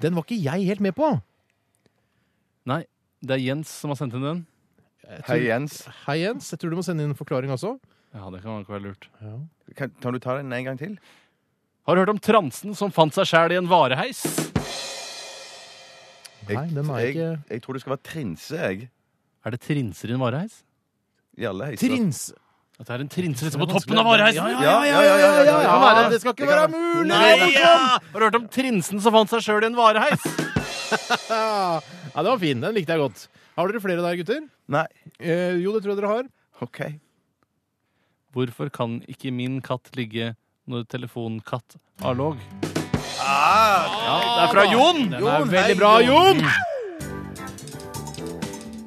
Speaker 7: den var ikke jeg helt med på.
Speaker 8: Nei. Det er Jens som har sendt inn den.
Speaker 7: Jeg tror- Hei, Jens. Jeg tror du må sende inn en forklaring også.
Speaker 8: Ja, det kan ikke være lurt.
Speaker 11: Kan, kan du ta den en gang til?
Speaker 8: Har du hørt om transen som fant seg sjæl i en vareheis?
Speaker 11: Nei, den er jeg, ikke Jeg tror det skal være trinse, jeg.
Speaker 8: Er det trinser i en vareheis?
Speaker 11: I alle heiser.
Speaker 7: Trins!
Speaker 8: At det er en trinse
Speaker 7: Det
Speaker 8: som
Speaker 7: er
Speaker 8: på toppen
Speaker 7: vanskelig.
Speaker 8: av vareheisen?
Speaker 7: Ja, ja, ja, ja, ja, ja, ja,
Speaker 8: Det kan være.
Speaker 7: det skal ikke være mulig!
Speaker 8: Nei,
Speaker 7: Det er
Speaker 8: ja! Har du hørt om trinsen som fant seg sjøl i en vareheis?
Speaker 7: ja, den var fin. Den likte jeg godt. Har dere flere der, gutter?
Speaker 11: Nei.
Speaker 7: Eh, jo, det tror jeg dere har.
Speaker 11: Ok.
Speaker 8: Hvorfor kan ikke min katt ligge når telefonkatt har låg? Ja, det er fra Jon!
Speaker 7: Den er veldig bra, Jon!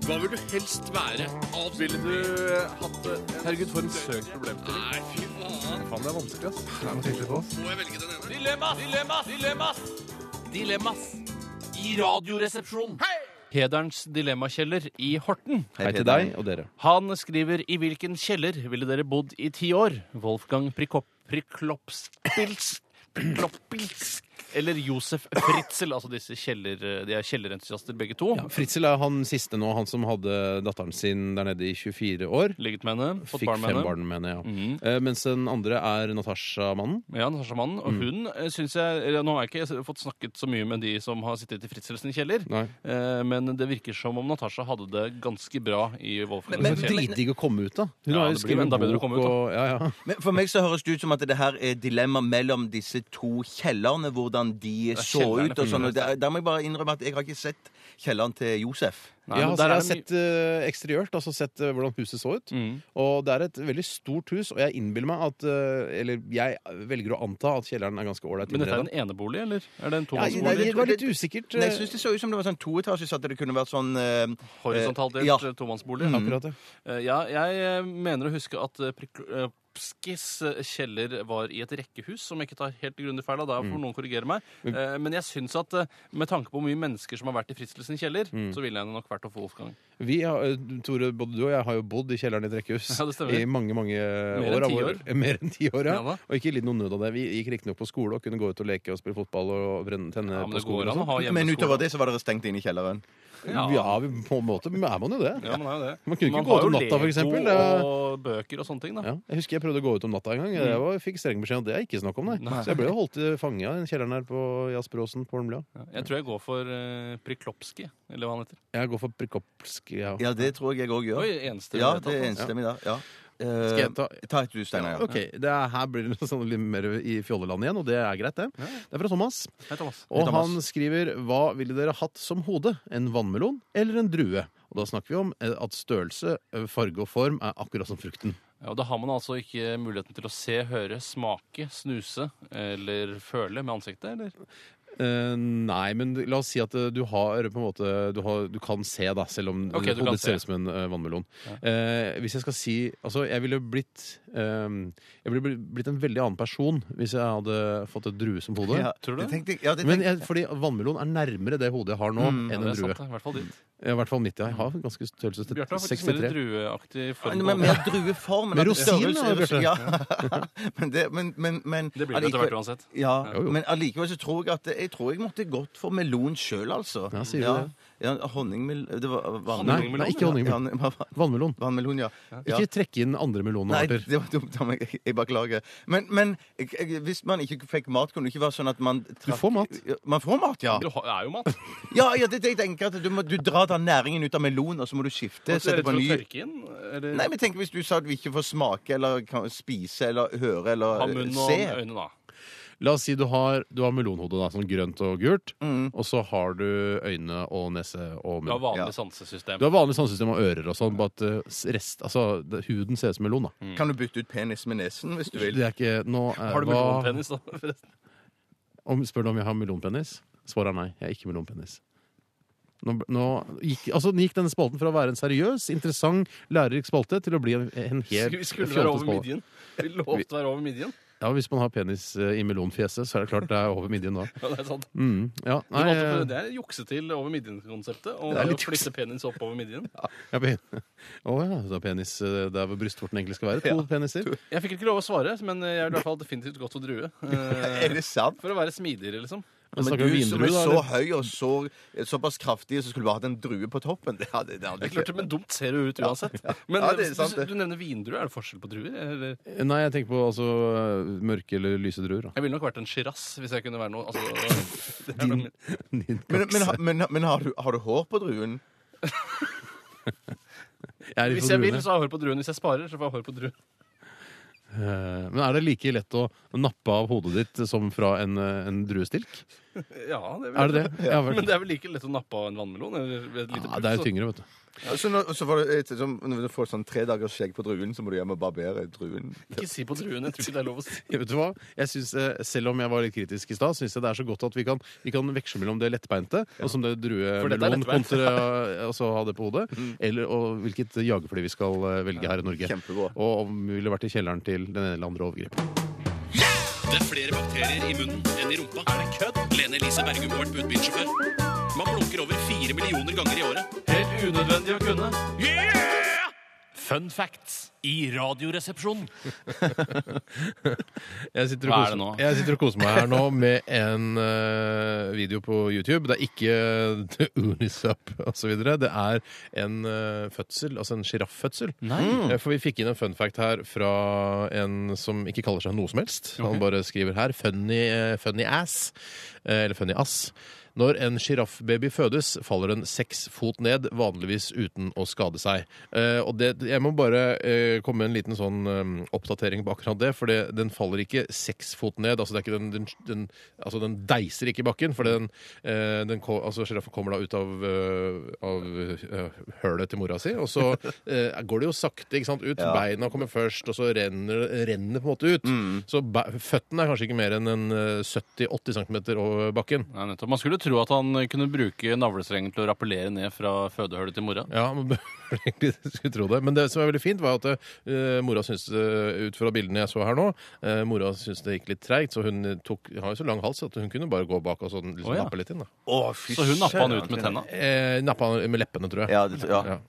Speaker 15: Hva vil du helst være? Ville du eh, hatt det? Herregud, for en søk problem til. Nei, fy faen.
Speaker 3: Faen, det er vanskelig, ass. Det er noe tydelig på oss.
Speaker 15: Må jeg velge den ene?
Speaker 2: Dilemmas! Dilemmas! Dilemmas! Dilemmas i Radioresepsjonen.
Speaker 8: Pederens dilemmakjeller i Horten.
Speaker 7: Hei til deg og dere.
Speaker 8: Han skriver i hvilken kjeller ville dere bodd i ti år? Wolfgang Prikop, Prikloppspils Prikloppils eller Josef Fritzel? Altså disse kjeller, de er kjellerentusiaster begge to.
Speaker 7: Ja, Fritzel er han siste nå, han som hadde datteren sin der nede i 24 år.
Speaker 8: Ligget med henne, fått
Speaker 7: Fikk
Speaker 8: barn med
Speaker 7: fem
Speaker 8: henne. Mhm.
Speaker 7: barn med henne. ja. Eh, mens den andre er Natasha-mannen.
Speaker 8: Ja, Natasha-mannen. Og
Speaker 7: Mm.
Speaker 8: hun eh, syns jeg eller Nå har jeg ikke fått snakket så mye med de som har sittet i Fritzels kjeller,
Speaker 7: Nei.
Speaker 8: eh, men det virker som om Natasha hadde det ganske bra i Wolfgang
Speaker 7: Men
Speaker 8: sin kjeller.
Speaker 7: dritdigg å komme ut, da. Hun
Speaker 8: Ja,
Speaker 7: har jo
Speaker 8: det blir
Speaker 7: skrevet
Speaker 8: enda bedre å
Speaker 7: bok
Speaker 8: komme ut, da.
Speaker 7: og ja, ja.
Speaker 12: Men for meg så høres det ut som at det her er dilemma mellom disse to kjellerne, hvordan de
Speaker 7: er
Speaker 12: så
Speaker 7: kjellerne,
Speaker 12: ut og sånn.
Speaker 7: for
Speaker 12: og Der, der må jeg bare innrømme at jeg har ikke sett kjelleren til Josef.
Speaker 7: ja, altså, jeg har sett eh, eksteriørt, altså sett eh, hvordan huset så ut.
Speaker 8: Mhm.
Speaker 7: Og det er et veldig stort hus, og jeg innbiller meg at eh, Eller jeg velger å anta at kjelleren er ganske ålreit
Speaker 8: Men dette er en
Speaker 7: innredet.
Speaker 8: enebolig, eller? Er det en
Speaker 7: Ja,
Speaker 8: tomannsbolig?
Speaker 7: nei, det var litt usikkert. eh,
Speaker 12: Nei, jeg syns det så ut som det var sånn toetasjes, at det kunne vært sånn eh,
Speaker 8: Horisontalt delt
Speaker 12: eh, ja.
Speaker 8: eh, tomannsbolig.
Speaker 12: Mm.
Speaker 8: Eh, ja, jeg eh, mener å huske at eh, Prik- eh, Pskis eh, kjeller var i et rekkehus, som jeg ikke tar helt grundig feil av. Der får
Speaker 7: Mm.
Speaker 8: noen korrigere meg.
Speaker 7: Men-
Speaker 8: Eh, Men jeg syns at eh, med tanke på hvor mye mennesker som har vært i Fritzl sin kjeller,
Speaker 7: Mm.
Speaker 8: så ville jeg nok vært hos Wolfgang.
Speaker 7: Vi har, eh, Tore, både du og jeg har jo bodd i kjelleren i et rekkehus
Speaker 8: Ja, det stemmer.
Speaker 7: i mange mange
Speaker 8: Mer enn
Speaker 7: år. av
Speaker 8: ti
Speaker 7: vår-
Speaker 8: år.
Speaker 7: eh, *laughs* Mer enn ti år, ja.
Speaker 8: Ja da.
Speaker 7: og ikke lidd noe nød av det. Vi gikk riktignok på skole og kunne gå ut og leke og spille fotball og brenne, tenne
Speaker 8: Ja, men
Speaker 7: på
Speaker 8: det
Speaker 7: skolen.
Speaker 8: går an å ha
Speaker 7: og sånt.
Speaker 12: Men utover det så var dere stengt inne i kjelleren.
Speaker 7: Ja, vi- på en måte er man jo det.
Speaker 8: Ja, man er jo det.
Speaker 7: Man kunne ikke
Speaker 8: Man
Speaker 7: gå
Speaker 8: har
Speaker 7: ut om
Speaker 8: jo
Speaker 7: natta, for
Speaker 8: Lego
Speaker 7: eksempel. Det-
Speaker 8: Og bøker og sånne ting, da.
Speaker 7: Ja, jeg husker jeg prøvde å gå ut om natta en gang. Jeg var, fikk streng beskjed om at det er ikke snakk om. Nei.
Speaker 8: Nei.
Speaker 7: Så jeg ble jo holdt i fanget i den kjelleren her på Jaspråsen på Holmlia.
Speaker 8: Jeg tror jeg går for uh, Priklopski, eller hva han heter.
Speaker 7: Jeg går for Prikopsk. Ja.
Speaker 12: Ja, det tror jeg jeg òg gjør.
Speaker 8: Oi, enstemmig
Speaker 12: ja,
Speaker 8: vedtatt,
Speaker 12: det er
Speaker 8: altså.
Speaker 12: enstemmig da. Ja. Eh,
Speaker 7: Skal jeg ta,
Speaker 12: ta et du, Steinar? Ja.
Speaker 7: Ok, det er, Her blir det noe sånn litt mer i fjolleland igjen, og det er greit, det. Det er fra Thomas.
Speaker 8: Hei, Thomas.
Speaker 7: Og
Speaker 8: Hei, Thomas.
Speaker 7: han skriver Hva ville dere hatt som hode? En vannmelon eller en drue? Og da snakker vi om eh, at størrelse, eh, farge og form er akkurat som frukten.
Speaker 8: Ja, og Da har man altså ikke muligheten til å se, høre, smake, snuse eller føle med ansiktet, eller?
Speaker 7: Eh, nei, men la oss si at eh, du har på en måte Du, har, du kan se, da, selv om
Speaker 8: Ok, du kan
Speaker 7: hodet
Speaker 8: se.
Speaker 7: ser ut som en eh, vannmelon.
Speaker 8: Ja.
Speaker 7: Eh, hvis jeg skal si Altså, jeg ville blitt eh, Jeg ville bli- blitt en veldig annen person hvis jeg hadde fått et drue som *laughs* hode.
Speaker 12: Ja, Tror du det det? tenkte jeg- ja, det
Speaker 7: Men
Speaker 12: tenkte
Speaker 7: jeg, fordi vannmelon er nærmere det hodet jeg har nå,
Speaker 8: Mm. Ja,
Speaker 7: enn
Speaker 8: det
Speaker 7: en
Speaker 8: er
Speaker 7: drue.
Speaker 8: sant, det. I hvert fall ditt.
Speaker 7: Ja, I hvert fall mitt. Ja. Jeg har ganske størrelse til
Speaker 8: Bjarte har faktisk mer
Speaker 7: 63.
Speaker 8: drueaktig form.
Speaker 12: Nei, men mer drueform.
Speaker 7: Med rosin, da, Bjarte.
Speaker 12: Ja. men det, men, men, men,
Speaker 8: Det blir det etter hvert uansett.
Speaker 12: Ja,
Speaker 8: Jo, jo.
Speaker 12: Men allikevel så tror jeg at jeg tror jeg måtte gått for melon sjøl, altså.
Speaker 7: Ja, sier du det?
Speaker 12: Ja, honningmel... Det var var-
Speaker 7: Nei, nei, ikke honningmelon. Vannmelon.
Speaker 12: Vannmelon, ja. ja.
Speaker 7: Ikke trekke inn andre
Speaker 12: Nei,
Speaker 7: melonarter.
Speaker 12: det var dumt av meg. Jeg beklager. Men, men jeg- jeg- hvis man ikke fikk mat, kunne det ikke være sånn at man trakk-
Speaker 7: får mat.
Speaker 12: Man får mat, ja.
Speaker 8: Du har, er jo mat.
Speaker 12: Ja, ja det, det *laughs* jeg tenker at du, må, du drar den næringen ut av melon, og så må du skifte.
Speaker 8: Det
Speaker 12: Sette
Speaker 8: ser ut
Speaker 12: på
Speaker 8: som å
Speaker 12: ny.
Speaker 8: tørke inn. Eller
Speaker 12: Nei, men tenk hvis du sa at vi ikke får smake eller kan spise eller høre eller
Speaker 8: ha munn og
Speaker 12: se.
Speaker 8: øyne, da.
Speaker 7: La oss si du har, du har melonhode, da, sånn grønt og gult.
Speaker 12: Mm.
Speaker 7: Og så har du øyne og nese og
Speaker 8: Du
Speaker 7: munn.
Speaker 8: har vanlig
Speaker 7: Ja.
Speaker 8: sansesystem.
Speaker 7: Du har vanlig sansesystem og ører og sånn, bare at eh, s- rest, altså, det, huden ser ut som melon. da.
Speaker 12: Kan du bytte ut penis med nesen hvis du
Speaker 7: *laughs*
Speaker 12: vil?
Speaker 7: Det er ikke, nå, eh,
Speaker 8: Mm. Har du
Speaker 7: hva-
Speaker 8: melonpenis, da? forresten?
Speaker 7: Om, spør du om jeg har melonpenis? Svaret er nei. Jeg er ikke melonpenis. Nå, ble- nå gikk, altså, gikk denne spalten fra å være en seriøs, interessant, lærerik spalte til å bli en, en helt
Speaker 8: Vi skulle
Speaker 7: fjollete
Speaker 8: være over
Speaker 7: spalte.
Speaker 8: midjen. Vi lovte å være over midjen.
Speaker 7: Ja, Hvis man har penis eh, i melonfjeset, så er det klart det er over midjen da.
Speaker 8: Ja, det er sant.
Speaker 7: Mm, ja,
Speaker 8: Du valgte
Speaker 7: nei,
Speaker 8: for- det er jukse til over midjen-konseptet. Og
Speaker 7: Det er
Speaker 8: det er
Speaker 7: litt
Speaker 8: å flytte penis opp over midjen.
Speaker 7: Ja, pen- *laughs* Å ja, det er penis eh, der hvor brystvorten egentlig skal være. To
Speaker 8: Ja.
Speaker 7: peniser.
Speaker 8: Jeg fikk ikke lov å svare, men jeg er i hvert fall definitivt godt å drue. Eh,
Speaker 12: *laughs* Er det sant?
Speaker 8: For å være smidigere, liksom.
Speaker 7: Men
Speaker 9: Men
Speaker 7: snakker vi
Speaker 9: du som er
Speaker 7: vindrue, da?
Speaker 9: så
Speaker 7: eller?
Speaker 9: høy og så, såpass kraftig, så skulle du bare hatt en drue på toppen.
Speaker 12: *laughs*
Speaker 9: Det hadde, det hadde
Speaker 8: Det er klart, men dumt ser det ut uansett.
Speaker 9: Ja, ja.
Speaker 8: Men
Speaker 9: Ja, det er sant,
Speaker 8: du,
Speaker 9: det.
Speaker 8: du nevner vindruer. Er det forskjell på druer? Eller?
Speaker 7: Nei, jeg tenker på altså mørke eller lyse
Speaker 8: *laughs*
Speaker 7: druer. da.
Speaker 8: Jeg ville nok vært en sjiras hvis jeg kunne være noe
Speaker 7: *laughs*
Speaker 8: altså, det er noe
Speaker 9: Din- Men, men, ha- men, men har, du, har du hår på druen?
Speaker 7: er
Speaker 8: Hvis
Speaker 7: litt på
Speaker 8: jeg vil,
Speaker 7: druene.
Speaker 8: så har jeg hår på druen. Hvis jeg sparer, så får jeg hår på druen.
Speaker 7: Eh, Men er det like lett å nappe av hodet ditt som fra en, eh, en druestilk?
Speaker 8: Ja, det
Speaker 7: Er det det? Ja, vel.
Speaker 8: Men det er vel like lett å nappe av en vannmelon? Eller et lite
Speaker 7: Ja, det er
Speaker 8: pulver,
Speaker 7: jo
Speaker 8: så-
Speaker 7: tyngre, vet du.
Speaker 9: Så når, så får du, et, sånn- når du får sånn tre dagers skjegg på druen, så må du hjem og barbere druen.
Speaker 8: Ikke si på druen. Jeg tror ikke det er lov å si.
Speaker 7: Ja, *laughs* Vet du hva? Jeg synes, eh, Selv om jeg var litt kritisk i stad, syns jeg det er så godt at vi kan, vi kan veksle mellom det lettbeinte, og som det
Speaker 8: For dette er
Speaker 7: druemelon
Speaker 8: lettbeint. Mm.
Speaker 7: kontra eh, altså, ha det på
Speaker 8: *laughs*
Speaker 7: hodet, eller og hvilket jagerfly vi skal eh, velge her i Norge. Og om vi ville vært i kjelleren til den ene eller andre overgrep.
Speaker 18: Det er flere bakterier i munnen enn i rumpa. Er det kødd? Lene Elise Bergum har vært budbilsjåfør. Man blunker over fire millioner ganger i året. Helt unødvendig å kunne. Yeah! Fun facts i Radioresepsjonen.
Speaker 7: Jeg sitter, og
Speaker 8: Hva er
Speaker 7: koser,
Speaker 8: det nå?
Speaker 7: jeg sitter og koser meg her nå med en eh, video på YouTube. Det er *laughs* ikke eh, The Unisup osv. Det er en eh, fødsel, altså en sjiraffødsel.
Speaker 8: Nei.
Speaker 7: Eh, For vi fikk inn en fun fact her fra en som ikke kaller seg noe som helst. Han
Speaker 8: Ok.
Speaker 7: bare skriver her 'funny, eh, funny ass'. eh, Eller 'funny ass'. Når en sjiraffbaby fødes, faller den seks fot ned, vanligvis uten å skade seg. Eh, og det, jeg må bare eh, komme med en liten sånn eh, oppdatering på akkurat det, for det, den faller ikke seks fot ned. Altså, det er ikke den, den, den, altså den deiser ikke i bakken, for den, eh, den ko- altså, sjiraffen kommer da ut av, eh, av eh, hølet til mora si,
Speaker 8: *laughs*
Speaker 7: og så eh, går det jo sakte ikke sant, ut.
Speaker 8: Ja.
Speaker 7: Beina kommer først, og så renner renner på en måte ut.
Speaker 8: Mm.
Speaker 7: Så ba- føttene er kanskje ikke mer enn en eh, 70-80 cm over bakken.
Speaker 8: Nei, nettopp. Man skulle tro at han kunne bruke navlestrengen til å rappellere ned fra fødehølet til mora.
Speaker 7: Ja, man bør egentlig skulle tro det. Men det som er veldig fint, var at eh, mora syntes eh, ut fra bildene jeg så her nå eh, Mora syntes det gikk litt treigt, så hun tok, har jo så lang hals at hun kunne bare gå bak og sånn, liksom,
Speaker 8: Å, ja.
Speaker 7: nappe litt inn. da.
Speaker 9: Å, fy
Speaker 8: Så hun nappa han ut med tenna?
Speaker 9: søren.
Speaker 7: Eh, nappa han med leppene, tror jeg.
Speaker 9: Ja, det- ja.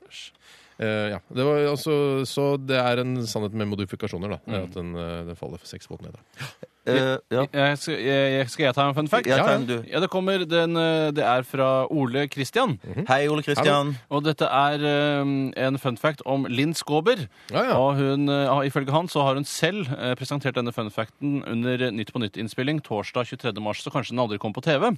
Speaker 7: Eh, ja. Det var, altså, så det er en sannhet med modifikasjoner, da.
Speaker 8: Mm.
Speaker 7: At den, eh, den faller for seks fot ned. Da.
Speaker 8: Jeg, skal, jeg, skal jeg ta en fun fact?
Speaker 7: Ja, ta en,
Speaker 8: ja. ja det kommer. Den, eh, det er fra Ole Kristian.
Speaker 9: Hei, Ole Kristian.
Speaker 8: Og dette er eh, en fun fact om Linn Skåber. Og hun, eh, har- ifølge han så har hun selv eh, presentert denne fun facten under Nytt på Nytt-innspilling torsdag 23. mars, så kanskje den aldri kom på TV.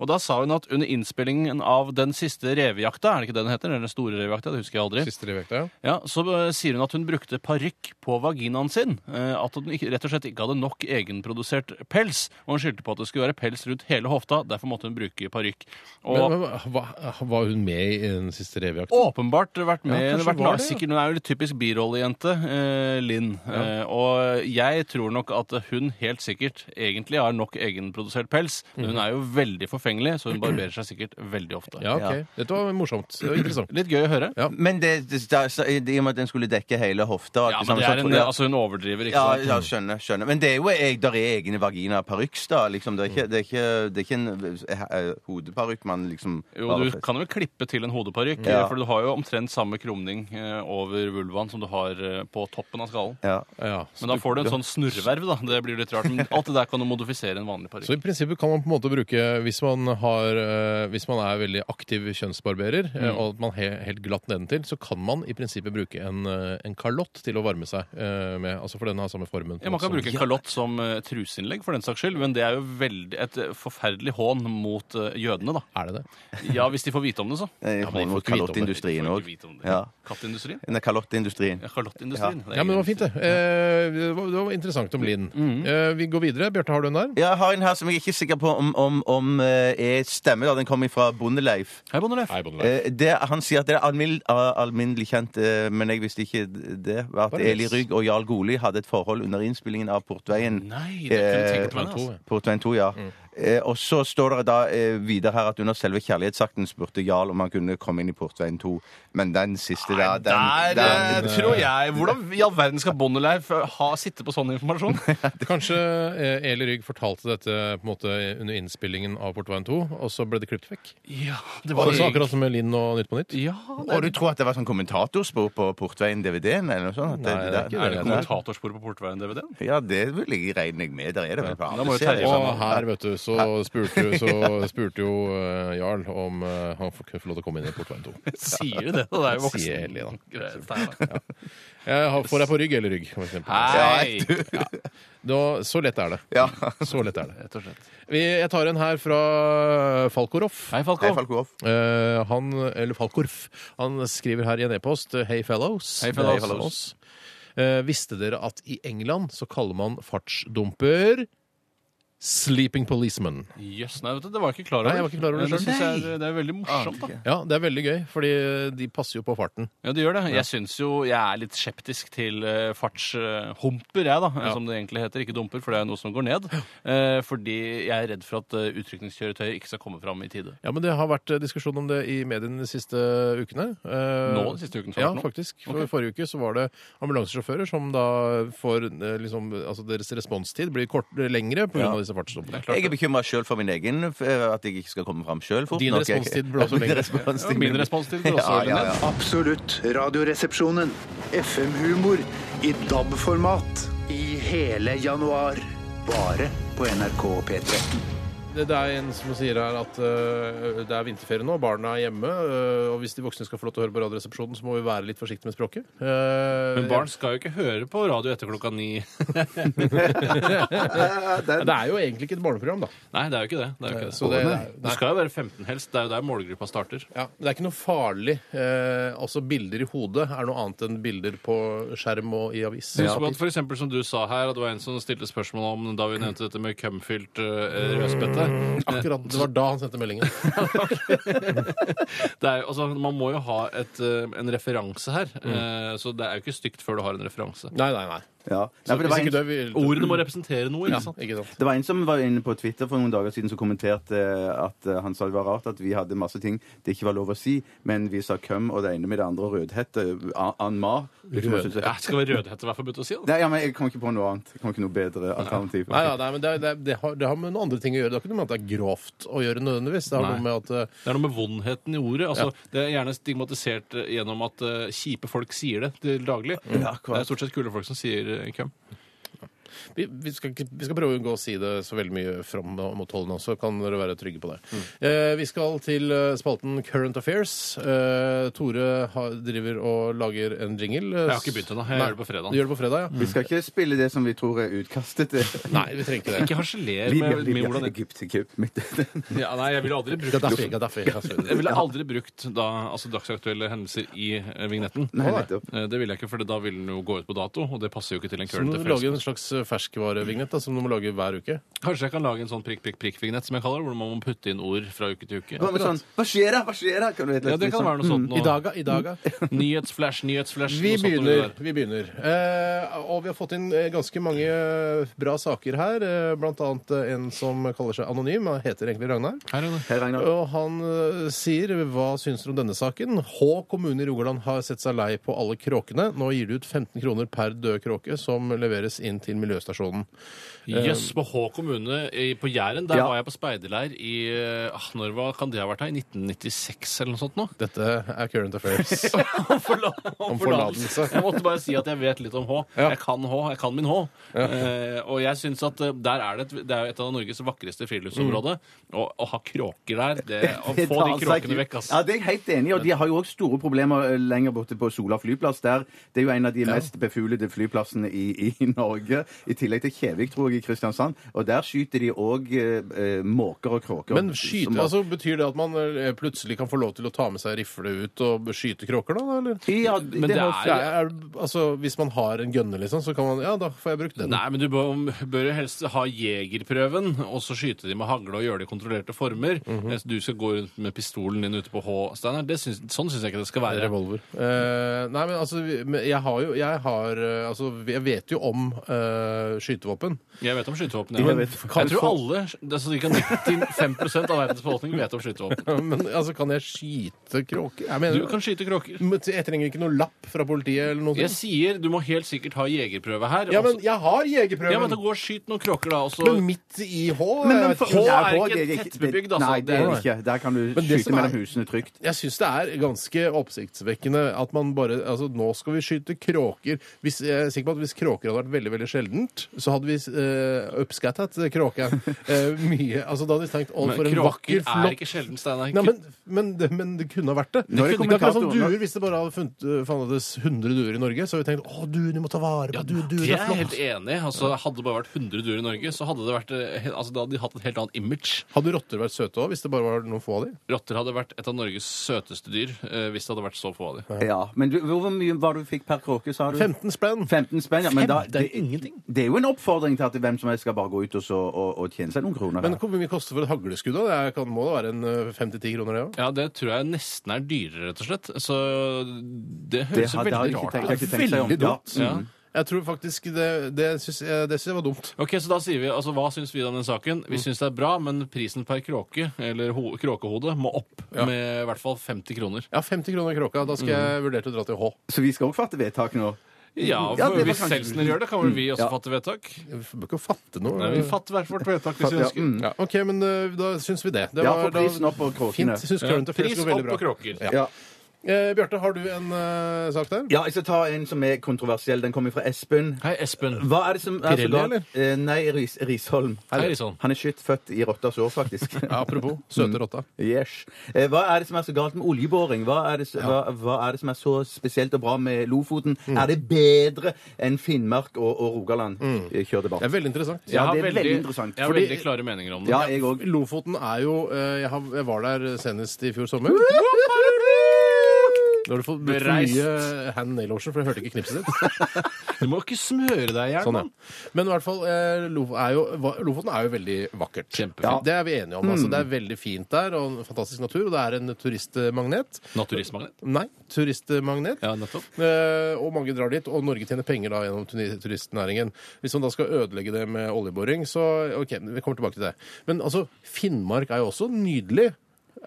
Speaker 8: Og da sa hun at under innspillingen av Den siste revejakta, er det ikke det den heter? Eller Den store revejakta? Det husker jeg aldri.
Speaker 7: Siste revejakta, ja.
Speaker 8: Ja, Så eh, sier hun at hun brukte parykk på vaginaen sin. eh, At hun ikke, rett og slett ikke hadde nok egenprodusert pels. Og hun skyldte på at det skulle være pels rundt hele hofta, derfor måtte hun bruke parykk. Og-
Speaker 7: Men, men, hva, var hun med i den siste revejakta?
Speaker 8: Åpenbart vært med.
Speaker 7: Ja, kanskje
Speaker 8: vært
Speaker 7: var
Speaker 8: med.
Speaker 7: det, ja.
Speaker 8: Sikkert, hun er jo litt typisk birollejente, eh, Linn. Eh, og jeg tror nok at hun helt sikkert egentlig har nok egenprodusert pels. Men hun er jo veldig forfengelig, så hun barberer seg sikkert veldig ofte.
Speaker 7: Ja, ok. Dette var morsomt. Det var interessant.
Speaker 8: Litt gøy å høre.
Speaker 9: Men det, det, det, så- i og med at den skulle dekke hele hofta
Speaker 8: Ja,
Speaker 9: alt
Speaker 8: men
Speaker 9: sammen,
Speaker 8: det
Speaker 9: så
Speaker 8: er en,
Speaker 9: tror jeg-
Speaker 8: altså Hun overdriver, ikke
Speaker 9: Ja,
Speaker 8: sant?
Speaker 9: ja, skjønner. skjønner. Men det er jo jeg, der er egne vaginaparyks, da. Liksom, det, er ikke, det, er ikke, det er ikke en eh, hodeparykk man liksom
Speaker 8: Jo,
Speaker 9: bare
Speaker 8: du
Speaker 9: fester.
Speaker 8: kan vel klippe til en hodeparykk,
Speaker 9: Ja.
Speaker 8: eh, for du har jo omtrent samme krumning eh, over vulvaen som du har eh, på toppen av skallen.
Speaker 9: Ja.
Speaker 8: Men da får du en sånn snurreverv, da. Det blir litt rart. Men alt det der kan du modifisere en vanlig parykk.
Speaker 7: Så i prinsippet kan man på en måte bruke, hvis man, har, eh, hvis man er veldig aktiv kjønnsbarberer, eh,
Speaker 8: Mm.
Speaker 7: og at man er helt glatt nedentil, så kan man i prinsippet bruke en, eh, en kalott til å varme seg eh, med. Altså for den har samme formen. på
Speaker 8: Ja, Man kan
Speaker 7: som-
Speaker 8: bruke en kalott som eh, truseinnlegg, for den saks skyld, men det er jo veldig, et eh, forferdelig hån mot eh, jødene, da.
Speaker 7: Er det det?
Speaker 8: Ja, hvis de får vite om det, så.
Speaker 9: Eh,
Speaker 8: Ja, men de
Speaker 9: mot
Speaker 8: får ikke vite om det. De
Speaker 9: kalottindustrien
Speaker 8: får
Speaker 9: òg.
Speaker 8: ikke vite om det.
Speaker 9: Ja.
Speaker 8: Kattindustrien?
Speaker 9: Nei, kalottindustrien.
Speaker 8: Ja, kalottindustrien.
Speaker 7: Ja, men det var fint, det. Eh, det var, det var interessant om Linn. Eh, vi går videre. Bjarte, har du en der?
Speaker 9: Ja, jeg har en her som jeg er ikke sikker på om, om, om eh, er stemmer. da. Den kommer fra Bondeleif.
Speaker 8: Hei, Bondeleif.
Speaker 9: Eh, det, han sier at det er almin- eh, alminnelig kjent, eh, men jeg visste ikke det, at
Speaker 8: Bare
Speaker 9: Eli
Speaker 8: les.
Speaker 9: Rygg og Jarl Goli hadde et forhold under innspillingen av Portveien.
Speaker 8: Nei, det kunne jeg tenkt meg,
Speaker 9: Eh,
Speaker 8: altså.
Speaker 9: Portveien 2, ja. Eh, og så står det da eh, videre her at under selve kjærlighetsakten spurte Jarl om han kunne komme inn i Portveien 2, men den siste der, den,
Speaker 8: Der, eh,
Speaker 9: den-
Speaker 8: tror jeg Hvordan i all verden skal Bondeleif eh, ha sitte på sånn
Speaker 7: *laughs*
Speaker 8: informasjon?
Speaker 7: Kanskje eh, Eli Rygg fortalte dette på en måte under innspillingen av Portveien 2, og så ble det klippet vekk?
Speaker 8: Ja,
Speaker 9: det var
Speaker 7: Også
Speaker 9: egentlig-
Speaker 7: akkurat som med Linn og Nytt på Nytt?
Speaker 8: Ja,
Speaker 9: Og du tror at det var sånn kommentatorspor på Portveien-DVD-en? eller noe sånt?
Speaker 7: Nei, det er ikke det.
Speaker 8: Er det kommentatorsporet på Portveien-DVD-en?
Speaker 9: Ja, det vil jeg regne jeg med. Der er det vel på
Speaker 8: Da må jo Terje
Speaker 9: serier.
Speaker 8: være med.
Speaker 7: Og her, vet du, så spurte, jo- så spurte jo eh, Jarl om eh, han får ikke få lov til å komme inn i portveien 2.
Speaker 8: *laughs* Sier du det? Da er jo voksen.
Speaker 7: Sier Eli, da.
Speaker 8: Greit, Steinar. *laughs*
Speaker 7: Jeg har- Eh, får deg på rygg eller rygg, for eksempel.
Speaker 8: Hei!
Speaker 7: Ja. Da, så lett er det. *laughs* Så lett er det.
Speaker 8: Rett og slett.
Speaker 7: Vi, jeg tar en her fra Falkoroff. Hei,
Speaker 8: Falkov. Hei, Falkov.
Speaker 7: Eh, han, eller Falkorf, han skriver her i en e-post Hei, fellows.
Speaker 8: Hei, fellows.
Speaker 7: Det er altså oss. Eh, visste dere at i England så kaller man fartsdumper sleeping policeman?
Speaker 8: Jøss, nei, vet du, det var jeg ikke klar over.
Speaker 7: Nei, jeg var ikke klar over det
Speaker 8: Men
Speaker 7: selv.
Speaker 8: synes jeg- det er veldig morsomt, da.
Speaker 7: Ja, det er veldig gøy, fordi de passer jo på farten.
Speaker 8: Ja, det gjør det.
Speaker 7: Ja.
Speaker 8: Jeg syns jo jeg er litt skeptisk til eh, fartshumper, jeg, da. Som det egentlig heter. Ikke dumper, for det er jo noe som går ned. Eh, fordi jeg er redd for at eh, utrykningskjøretøyer ikke skal komme fram i tide.
Speaker 7: Ja, men Det har vært eh, diskusjon om det i mediene de siste ukene. Eh,
Speaker 8: Nå, de siste ukene, så
Speaker 7: Ja,
Speaker 8: nå?
Speaker 7: faktisk. For
Speaker 8: Ok.
Speaker 7: Forrige uke så var det ambulansesjåfører som da får eh, liksom, altså Deres responstid blir kort, lengre pga.
Speaker 12: Ja.
Speaker 7: av disse fartsdommene.
Speaker 12: Jeg er bekymra sjøl for min egen, f- at jeg ikke skal komme fram sjøl fort
Speaker 7: Din
Speaker 12: nok. Jeg-
Speaker 7: responstid blir også
Speaker 12: *laughs* Min
Speaker 7: lengre.
Speaker 12: responstid-
Speaker 7: Ja, min responstid blir også
Speaker 12: Ja,
Speaker 7: veldig
Speaker 12: ja, ja.
Speaker 17: Absolutt Radioresepsjonen. FM-humor i DAB-format i hele januar. Bare på NRK P13.
Speaker 7: Det, det er en som sier her at øh, det er vinterferie nå, barna er hjemme. øh, og hvis de voksne skal få lov til å høre på Radioresepsjonen, så må vi være litt forsiktige med språket. Eh,
Speaker 8: Men barn skal jo ikke høre på radio etter klokka ni.
Speaker 7: det er jo egentlig ikke et barneprogram, da.
Speaker 8: Nei, det er jo ikke det. Det, er jo ikke det.
Speaker 7: Så det- nei.
Speaker 8: det skal jo være 15 helst. Det er jo der målgruppa starter.
Speaker 7: Ja, men det er ikke noe farlig. Eh, altså, bilder i hodet er noe annet enn bilder på skjerm og i avis.
Speaker 8: Husk på at for eksempel, som du sa her, at det var en som stilte spørsmål om da vi nevnte dette med kømfylt uh, rødspette.
Speaker 7: Akkurat, Det var da han sendte meldingen.
Speaker 8: Det er, jo- altså, man må jo ha et, eh, en referanse her, eh, så det er jo ikke stygt før du har en referanse.
Speaker 7: *laughs* Nei, nei, nei.
Speaker 12: Ja.
Speaker 8: Så
Speaker 12: Nei, for det
Speaker 8: hvis
Speaker 12: var
Speaker 8: ikke
Speaker 12: en-
Speaker 8: du er vill- Ordene må representere noe, ikke sant?
Speaker 12: Det var en som var inne på Twitter for noen dager siden som kommenterte eh, at eh, han sa det var rart at vi hadde masse ting det ikke var lov å si, men vi sa køm og det ene med det andre og rødhette. a- En mar.
Speaker 8: Rød. Ja, skal vi rødhette være forbudt å si? da?
Speaker 12: Nei, ja, men jeg kom ikke på noe annet. Jeg kom ikke noe bedre alternativ.
Speaker 7: Nei, nei, nei men det, er- det, er- det, har, det har med noen andre ting å gjøre. Det har ikke noe med at det er grovt å gjøre nødvendigvis. Det har
Speaker 8: Nei.
Speaker 7: noe med at eh,
Speaker 8: Det er noe med vondheten i ordet. Altså, Det er gjerne stigmatisert eh, gjennom at eh, kjipe folk sier det til daglig.
Speaker 7: Ja, akkurat.
Speaker 8: det er stort sett kule folk som sier eh, køm.
Speaker 7: vi, vi, skal, ikke- vi skal prøve å unngå å si det så veldig mye fram mot tolv nå, så kan dere være trygge på det.
Speaker 8: Mm.
Speaker 7: Eh, vi skal til eh, spalten Current Affairs. Eh, Tore har, driver og lager en jingle.
Speaker 8: Jeg har ikke begynt ennå. Jeg
Speaker 7: Nei,
Speaker 8: gjør det på fredag.
Speaker 7: Du gjør det på fredag, ja.
Speaker 12: Vi skal ikke spille det som vi tror er
Speaker 7: *laughs*
Speaker 12: utkastet.
Speaker 8: Mm.
Speaker 7: Nei, vi trenger ikke det.
Speaker 8: Ikke harseler
Speaker 12: Libya,
Speaker 8: med- med
Speaker 12: Libya,
Speaker 8: hvordan-
Speaker 12: Egypt,
Speaker 7: *laughs*
Speaker 12: Egypt, Midt-
Speaker 8: Ja, nei, jeg ville aldri brukt
Speaker 7: Gaddafi, Gaddafi, *laughs* Gaddafi.
Speaker 8: Jeg ville aldri brukt da, altså, dagsaktuelle hendelser i eh, vignetten.
Speaker 12: Nei, nettopp.
Speaker 8: Eh, Det ville jeg ikke, for da ville den jo gå ut på dato, og det passer jo ikke til en
Speaker 7: Så
Speaker 8: current
Speaker 7: må du
Speaker 8: affairs.
Speaker 7: lage en slags ferskvarevignett da, som du må lage hver uke.
Speaker 8: Kanskje jeg kan lage en sånn prikk-prikk-prikk-vignett som jeg kaller det, hvor man må putte inn ord fra uke til uke.
Speaker 12: Hva med sånn Hva skjer da? Hva skjer da? Kan du
Speaker 8: Ja, det kan være noe sånt nå. Mm.
Speaker 7: I daga, i daga.
Speaker 8: Nyhetsflash, nyhetsflash.
Speaker 7: Vi
Speaker 8: noe sånt om det
Speaker 7: begynner.
Speaker 8: der.
Speaker 7: vi begynner. Eh, og vi har fått inn eh, ganske mange eh, bra saker her. Eh, blant annet eh, en som kaller seg Anonym. Han heter egentlig Ragnar. Og han eh, sier hva syns dere om denne saken? Hå kommune i Rogaland har sett seg lei på alle kråkene. Nå gir de ut 15 kroner per død kråke som leveres inn til miljøstasjonen.
Speaker 8: Jøss,
Speaker 7: Eh,
Speaker 8: på Hå kommune i- på Jæren, der
Speaker 7: Ja.
Speaker 8: var jeg på speiderleir i ah, Når var, kan det ha vært her? I 1996 eller noe sånt nå?
Speaker 7: Dette er current affairs.
Speaker 8: Om
Speaker 7: forlatelse.
Speaker 8: Jeg måtte bare si at jeg vet litt om H. Jeg kan H, jeg kan min H.
Speaker 7: Ja.
Speaker 8: Eh, og jeg synes at eh, der er det, et, det er jo et av Norges vakreste friluftsområder. Og å ha kråker der, det, å
Speaker 12: Det
Speaker 8: få
Speaker 12: tar
Speaker 8: de
Speaker 12: seg
Speaker 8: kråkene
Speaker 12: ikke-
Speaker 8: vekk, ass.
Speaker 12: Ja, det er jeg helt enig i. Og de har jo også store problemer eh, lenger borte på Sola flyplass. der. Det er jo en av de mest befuglede flyplassene i, i Norge. I tillegg til Kjevik, tror jeg, i Kristiansand. Og der skyter de òg eh, måker og kråker.
Speaker 7: Men skyte,
Speaker 12: Som-
Speaker 7: altså Betyr det at man eh, plutselig kan få lov til å ta med seg rifle ut og skyte kråker, da? Eller?
Speaker 12: Ja,
Speaker 8: Men det det er-
Speaker 7: er, altså, Hvis man har en gønne, liksom, så kan man Ja, da får jeg brukt den.
Speaker 8: Nei, men du bør, bør jo helst ha jegerprøven, og så skyte de med hagle og gjøre det i kontrollerte former. Mens Du skal gå rundt med pistolen din ute på H, Steinar. Det syns- Sånn syns jeg ikke det skal være.
Speaker 7: Revolver. Eh, nei, men altså vi- men Jeg har jo jeg har, eh, altså, Jeg vet jo om eh, skytevåpen. *laughs*
Speaker 8: Jeg vet om skytevåpen.
Speaker 7: Ja,
Speaker 8: Ja.
Speaker 7: men
Speaker 8: Jeg,
Speaker 7: kan
Speaker 8: tror
Speaker 7: få-
Speaker 8: alle, altså ca. 95 av verdens befolkning vet om skytevåpen.
Speaker 7: Men altså, kan jeg skyte kråker? Jeg
Speaker 8: Du kan skyte kråker.
Speaker 7: Jeg trenger ikke noe lapp fra politiet eller noe
Speaker 8: Jeg
Speaker 7: sånt.
Speaker 8: sier du må helt sikkert ha jegerprøve her.
Speaker 7: Ja,
Speaker 8: og så-
Speaker 7: men jeg har
Speaker 8: altså.
Speaker 7: jegerprøven!
Speaker 8: Ja, men da går og skyt noen kråker, da. Og så...
Speaker 7: Men midt i H
Speaker 8: Men-
Speaker 7: jeg
Speaker 8: men
Speaker 7: vet
Speaker 8: for-
Speaker 7: ikke.
Speaker 8: H
Speaker 12: Ja,
Speaker 8: er
Speaker 12: H,
Speaker 8: ikke
Speaker 12: det er
Speaker 8: et tettbebygd, altså.
Speaker 12: Nei, det er det ikke. Der kan du
Speaker 7: Men det
Speaker 12: skyte
Speaker 7: som er-
Speaker 12: mellom husene trygt.
Speaker 7: Jeg syns det er ganske oppsiktsvekkende at man bare Altså, nå skal vi skyte kråker. Hvis, jeg er sikker på at hvis kråker hadde vært veldig veldig sjelden, sjeldent så hadde vi uh, upskattet kråken eh, mye. Altså, da hadde vi tenkt å,
Speaker 8: Men
Speaker 7: for en
Speaker 8: kråker
Speaker 7: vakker,
Speaker 8: er
Speaker 7: flott
Speaker 8: ikke sjelden, Steinar.
Speaker 7: Nei, men, men, det, men det kunne ha vært det.
Speaker 8: Nå er det
Speaker 7: Det er akkurat som
Speaker 8: kommentatoren, da.
Speaker 7: duer. Hvis det bare hadde funnet, fantes 100 duer i Norge, så hadde vi tenkt å, duer, du må ta vare på duer, duer
Speaker 8: Jeg
Speaker 7: er
Speaker 8: er helt
Speaker 7: flott.
Speaker 8: enig. Altså, hadde det bare vært 100 duer i Norge, så hadde det vært, eh, he- altså, da hadde de hatt et helt annet image.
Speaker 7: Hadde rotter vært søte òg, hvis det bare var noen få av de?
Speaker 8: Rotter hadde vært et av Norges søteste dyr eh, hvis det hadde vært så få av dem.
Speaker 12: Ja, men du, hvor mye var det du fikk per kråke, sa du?
Speaker 7: 15 spenn.
Speaker 12: 15 spenn, ja, men da,
Speaker 7: Fem? Det er ingenting.
Speaker 12: Det er jo en oppfordring til at hvem som helst skal bare gå ut og, så, og, og tjene seg noen kroner.
Speaker 7: Men hvor mye koster for et hagleskudd? da? Det er- kan, må da være en eh, 5-10 kroner, det òg?
Speaker 8: Ja, det tror jeg nesten er dyrere, rett og slett. Så det høres
Speaker 7: hadde jeg
Speaker 8: veldig
Speaker 7: ikke
Speaker 8: rart
Speaker 7: tenkt-
Speaker 8: ut.
Speaker 7: jeg har ikke tenkt seg om.
Speaker 8: Veldig dumt.
Speaker 7: Ja.
Speaker 8: Ja.
Speaker 7: Mm. Jeg tror faktisk Det, det syns jeg, det syns jeg var dumt.
Speaker 8: Ok, så da sier vi, altså Hva syns vi da om den saken? Vi syns det er bra, men prisen per kråke, eller ho kråkehode, må opp med i hvert fall 50 kroner.
Speaker 7: Ja, 50 kroner kråka. Da skal
Speaker 8: Mm.
Speaker 7: jeg vurdere til å dra til H.
Speaker 12: Så vi skal også fatte vedtak nå?
Speaker 8: Ja,
Speaker 7: Ja,
Speaker 8: for
Speaker 7: det var
Speaker 8: hvis
Speaker 7: kanskje-
Speaker 8: Seltzner gjør det, kan vel vi også
Speaker 7: Ja.
Speaker 8: fatte vedtak?
Speaker 7: Vi bør ikke fatte noe.
Speaker 8: Nei, vi fatter hvert vårt vedtak hvis vi
Speaker 7: Ja,
Speaker 8: ønsker.
Speaker 7: mm. Ja, OK, men eh, da syns vi det. det
Speaker 8: Ja,
Speaker 7: var-
Speaker 8: for
Speaker 7: da-
Speaker 8: prisen opp og kråkene.
Speaker 7: Fint. Syns
Speaker 8: Ja.
Speaker 7: Current Affairs
Speaker 8: Pris
Speaker 7: går veldig
Speaker 8: opp
Speaker 7: bra.
Speaker 8: og kråker.
Speaker 7: Ja.
Speaker 12: Ja.
Speaker 7: Eh, Bjarte, har du en eh, sak der?
Speaker 12: Ja, jeg skal ta en som er kontroversiell. Den kommer fra Espen.
Speaker 8: Hei, Espen.
Speaker 12: Hva er det som er så
Speaker 7: Pirelli,
Speaker 12: galt?
Speaker 7: eller?
Speaker 12: Eh, Nei, Ris Risholm.
Speaker 7: Hei, Risholm.
Speaker 12: Han er skytt født i rottas år,
Speaker 7: *laughs*
Speaker 12: faktisk.
Speaker 7: apropos. Søte rotta.
Speaker 12: Mm. Yes. Eh, Hva er det som er så galt med oljeboring? Hva er det, s- hva, hva er det som er så spesielt og bra med Lofoten?
Speaker 7: Mm.
Speaker 12: Er det bedre enn Finnmark og, og Rogaland?
Speaker 7: Mm.
Speaker 12: Eh, Kjør debatt.
Speaker 7: Det er veldig interessant.
Speaker 12: Ja, det er veldig, interessant.
Speaker 8: Jeg har
Speaker 7: Fordi-
Speaker 8: veldig klare meninger om det.
Speaker 12: Ja, jeg òg.
Speaker 7: Lofoten er jo eh, jeg, har, jeg var der senest i fjor sommer. Nå har du fått brukt for
Speaker 8: Bereist.
Speaker 7: mye hand nail lotion, for jeg hørte ikke knipset ditt.
Speaker 8: Du må ikke smøre deg i hjel,
Speaker 7: Sånn, ja.
Speaker 8: mann.
Speaker 7: Men i hvert fall, eh, Lof- er jo, va- Lofoten er jo veldig vakkert.
Speaker 8: Kjempefint.
Speaker 7: Det er vi enige om. Altså,
Speaker 8: Mm.
Speaker 7: det er veldig fint der, og en fantastisk natur, og det er en turistmagnet.
Speaker 8: Naturistmagnet.
Speaker 7: Nei, turistmagnet.
Speaker 8: Ja, nettopp.
Speaker 7: Eh, og mange drar dit, og Norge tjener penger da gjennom tuni- turistnæringen. Hvis man da skal ødelegge det med oljeboring, så OK, vi kommer tilbake til det. Men altså, Finnmark er jo også nydelig.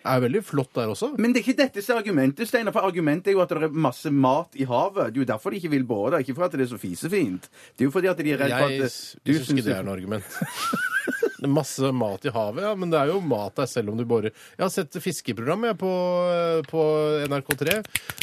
Speaker 7: Er veldig flott der også.
Speaker 12: Men det er ikke dette som er argumentet, Steinar. For argumentet er jo at det er masse mat i havet. Det er jo derfor de ikke vil båre der. Ikke for at det er så fisefint. Det er jo fordi at de er redd for at eh,
Speaker 7: Jeg syns ikke det er noe argument. *laughs* Det er Masse mat i havet, ja, men det er jo mat der selv om du borer. Jeg har sett fiskeprogram jeg, på, eh, på NRK3,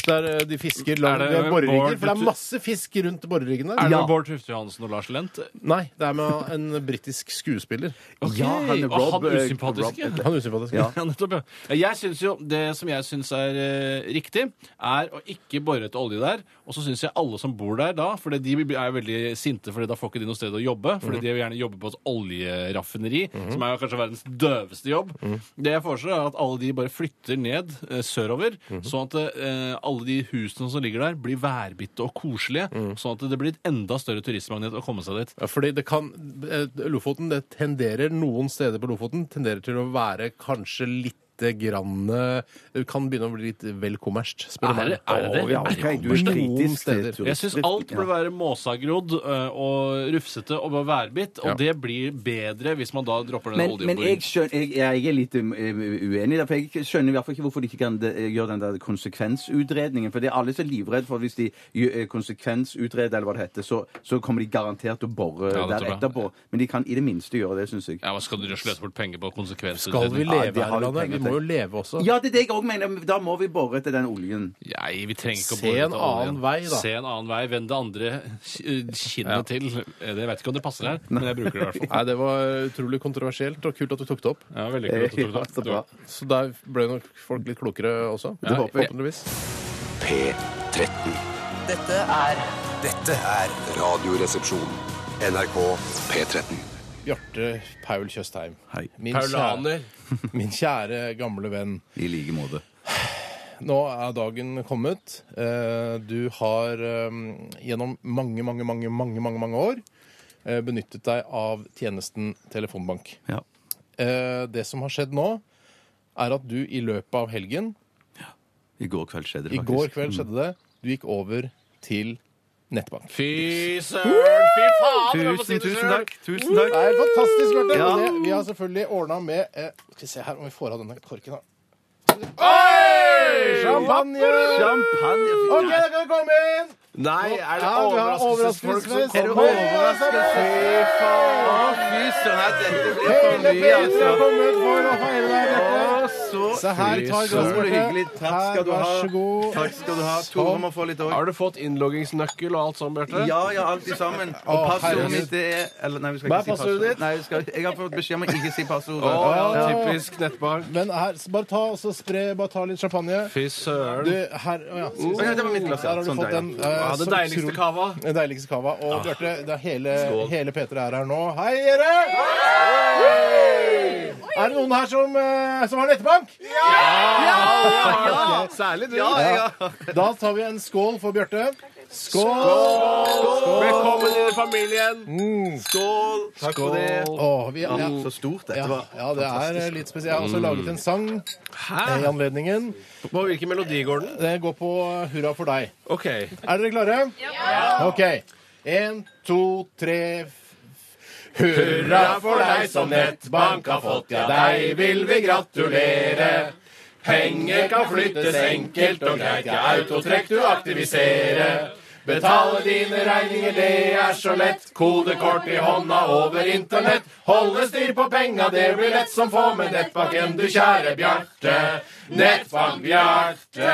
Speaker 7: der eh, de fisker langt
Speaker 8: Er det
Speaker 7: de har borerigger.
Speaker 8: Bård-
Speaker 7: For det er masse fisk rundt boreriggen der.
Speaker 8: Er det med Bård Tufte Johansen og Lars Lent?
Speaker 7: Nei, det er med en britisk skuespiller.
Speaker 8: Ok, Ja, han er og Rob- han usympatisk, ja.
Speaker 7: Han usympatisk.
Speaker 8: *laughs* Ja, nettopp, ja. Jeg synes jo, Det som jeg syns er eh, riktig, er å ikke bore etter olje der. Og så syns jeg alle som bor der da, for de er jo veldig sinte, Fordi da får ikke de noe sted å jobbe. Fordi
Speaker 7: Mhm.
Speaker 8: de vil gjerne jobbe på et oljeraffineri,
Speaker 7: Mhm.
Speaker 8: som er jo kanskje verdens døveste jobb.
Speaker 7: Mhm.
Speaker 8: Det jeg foreslår, er at alle de bare flytter ned eh, sørover,
Speaker 7: Mhm.
Speaker 8: sånn at eh, alle de husene som ligger der, blir værbitte og koselige.
Speaker 7: Mhm.
Speaker 8: Sånn at det blir et enda større turistmagnet å komme seg dit.
Speaker 7: Ja, fordi det kan eh, Lofoten det tenderer noen steder på Lofoten tenderer til å være kanskje litt grann, eh, det kan begynne å bli litt vel kommersielt. spør du
Speaker 8: Er det-
Speaker 7: meg.
Speaker 8: er det det?
Speaker 7: Å, ja,
Speaker 8: Er det
Speaker 7: ok, du
Speaker 8: kommersielt?
Speaker 7: er
Speaker 8: Noen
Speaker 7: kritisk til
Speaker 8: steder. Jeg syns
Speaker 7: turistdrift,
Speaker 8: alt burde
Speaker 7: ja.
Speaker 8: være måsagrodd ø, og rufsete og bare værbitt, og
Speaker 12: Ja.
Speaker 8: det blir bedre hvis man da dropper den
Speaker 12: Men, men
Speaker 8: oljeboringen.
Speaker 12: jeg, skjønner, jeg, jeg er litt um, um, uenig der, for jeg skjønner i hvert fall ikke hvorfor de ikke kan de, gjøre den der konsekvensutredningen. For det er alle så livredde for at hvis de gjør, eh, konsekvensutreder, eller hva det heter, så, så kommer de garantert til å bore
Speaker 8: Ja, det
Speaker 12: der
Speaker 8: tror jeg.
Speaker 12: etterpå. Men de kan i det minste gjøre det, syns jeg.
Speaker 8: Ja, men Skal du sløse bort penger på konsekvenser?
Speaker 12: Skal vi leve
Speaker 8: Ja, de har
Speaker 12: her i
Speaker 8: jo
Speaker 12: landet?
Speaker 8: penger
Speaker 12: Vi
Speaker 8: til.
Speaker 12: må
Speaker 7: jo leve også.
Speaker 12: Ja, det er det jeg òg mener. men Da må vi bore etter den oljen.
Speaker 8: Nei, vi trenger ikke å
Speaker 12: Se
Speaker 8: bore
Speaker 12: en
Speaker 8: etter oljen.
Speaker 12: annen vei, da.
Speaker 8: Se en annen vei. Vend det andre ki- eh, kinnet til. Eh, Det vet ikke om det passer her, men jeg bruker det i hvert fall.
Speaker 7: Nei, det var utrolig kontroversielt, og kult at du tok det opp.
Speaker 8: Ja, veldig kult at du tok det opp. Ja, så bra.
Speaker 7: Så der ble nok folk litt klokere også.
Speaker 6: Ja,
Speaker 7: Det håper vi
Speaker 6: ja.
Speaker 7: forhåpentligvis.
Speaker 6: P13.
Speaker 19: Dette er
Speaker 6: Dette er Radioresepsjon. NRK P13.
Speaker 7: Bjarte Paul Tjøstheim.
Speaker 12: Hei.
Speaker 7: kjære,
Speaker 8: Paulaner.
Speaker 7: *laughs* min kjære gamle venn.
Speaker 12: I like måte.
Speaker 7: Nå er dagen kommet. Eh, Du har eh, gjennom mange, mange, mange, mange, mange, mange år eh, benyttet deg av tjenesten telefonbank. Eh, Det som har skjedd nå, er at du i løpet av helgen
Speaker 12: I går kveld skjedde det,
Speaker 7: I
Speaker 12: faktisk.
Speaker 7: går kveld skjedde det. Du gikk over til nettbank.
Speaker 8: Fy søren! Fy faen! jeg må si det selv.
Speaker 7: Det er helt fantastisk, Bjarte.
Speaker 8: Ja.
Speaker 7: Og det- Vi har selvfølgelig ordna med eh, Skal vi se her om vi får av denne korken, da. Champagne!
Speaker 12: Champagne.
Speaker 7: OK, da kan du komme inn!
Speaker 12: Nei,
Speaker 7: er det Ja, du har overraskelsesfolk som overraskelsesfest. kommer? Er det overraskelse? Fy
Speaker 12: faen! Fy søren, dette blir for mye, altså.
Speaker 7: Hele P3 har kommet for å feire deg, Bjarte.
Speaker 9: så
Speaker 7: Se her, ta et glass,
Speaker 9: utrolig
Speaker 7: Bjarte.
Speaker 9: hyggelig. Takk skal
Speaker 7: Her,
Speaker 9: du ha.
Speaker 7: vær så god.
Speaker 9: Takk skal du ha. Tore må få litt òg.
Speaker 7: Har du fått innloggingsnøkkel og alt sånt, Bjarte?
Speaker 9: Ja, ja, alt i sammen.
Speaker 7: Å,
Speaker 9: Og passordet
Speaker 7: herregud.
Speaker 9: mitt det er eller, Nei, vi skal
Speaker 7: Hva
Speaker 9: ikke
Speaker 7: er
Speaker 9: si
Speaker 7: passordet ditt?
Speaker 9: Nei, vi skal, jeg har fått beskjed om å ikke si passordet.
Speaker 7: Å, ja,
Speaker 9: Ja.
Speaker 7: typisk nettbarn. Men her, s- bare ta, og så spre, bare ta litt champagne.
Speaker 8: Fy søren.
Speaker 7: Du, her, å ja, skal vi
Speaker 8: Å,
Speaker 7: se.
Speaker 8: Mm. ja, det var mitt glass, ja.
Speaker 7: Der har du
Speaker 8: Sånn
Speaker 7: fått
Speaker 8: der, ja.
Speaker 7: den.
Speaker 8: Ja, det
Speaker 7: som
Speaker 8: deiligste
Speaker 7: tror-
Speaker 8: kava. Ah.
Speaker 7: Den deiligste kava. Og Bjarte, det er hele,
Speaker 8: Skål.
Speaker 7: hele Peter er her nå. Hei, dere! Er det noen her som, eh, som har nettbank? Ja!
Speaker 9: Ja!
Speaker 7: Særlig
Speaker 9: du. Ja, ja.
Speaker 7: Da tar vi en skål for Bjarte. Skål!
Speaker 8: Velkommen i familien.
Speaker 9: Skål! Takk for det.
Speaker 7: Åh, vi-
Speaker 9: Ja,
Speaker 7: ja.
Speaker 9: Så stort dette
Speaker 7: Ja,
Speaker 9: var.
Speaker 7: ja, det er eh,
Speaker 9: Fantastisk.
Speaker 7: litt spesielt. Jeg har også
Speaker 9: Mm.
Speaker 7: laget en sang eh, i anledningen. På hvilken melodi går den? Det går på eh, Hurra for deg. Ok. Er dere klare? Ja! Ok. En, to, tre f- Hurra for deg som nettbank har fått, ja, deg vil vi gratulere. Penger kan flyttes enkelt og greit, ja, autotrekk du aktiviserer. Betale dine regninger, det er så lett. Kodekort i hånda over internett. Holde styr på penga, det blir lett som få med nettbanken, du kjære Bjarte. Nettbank Bjarte.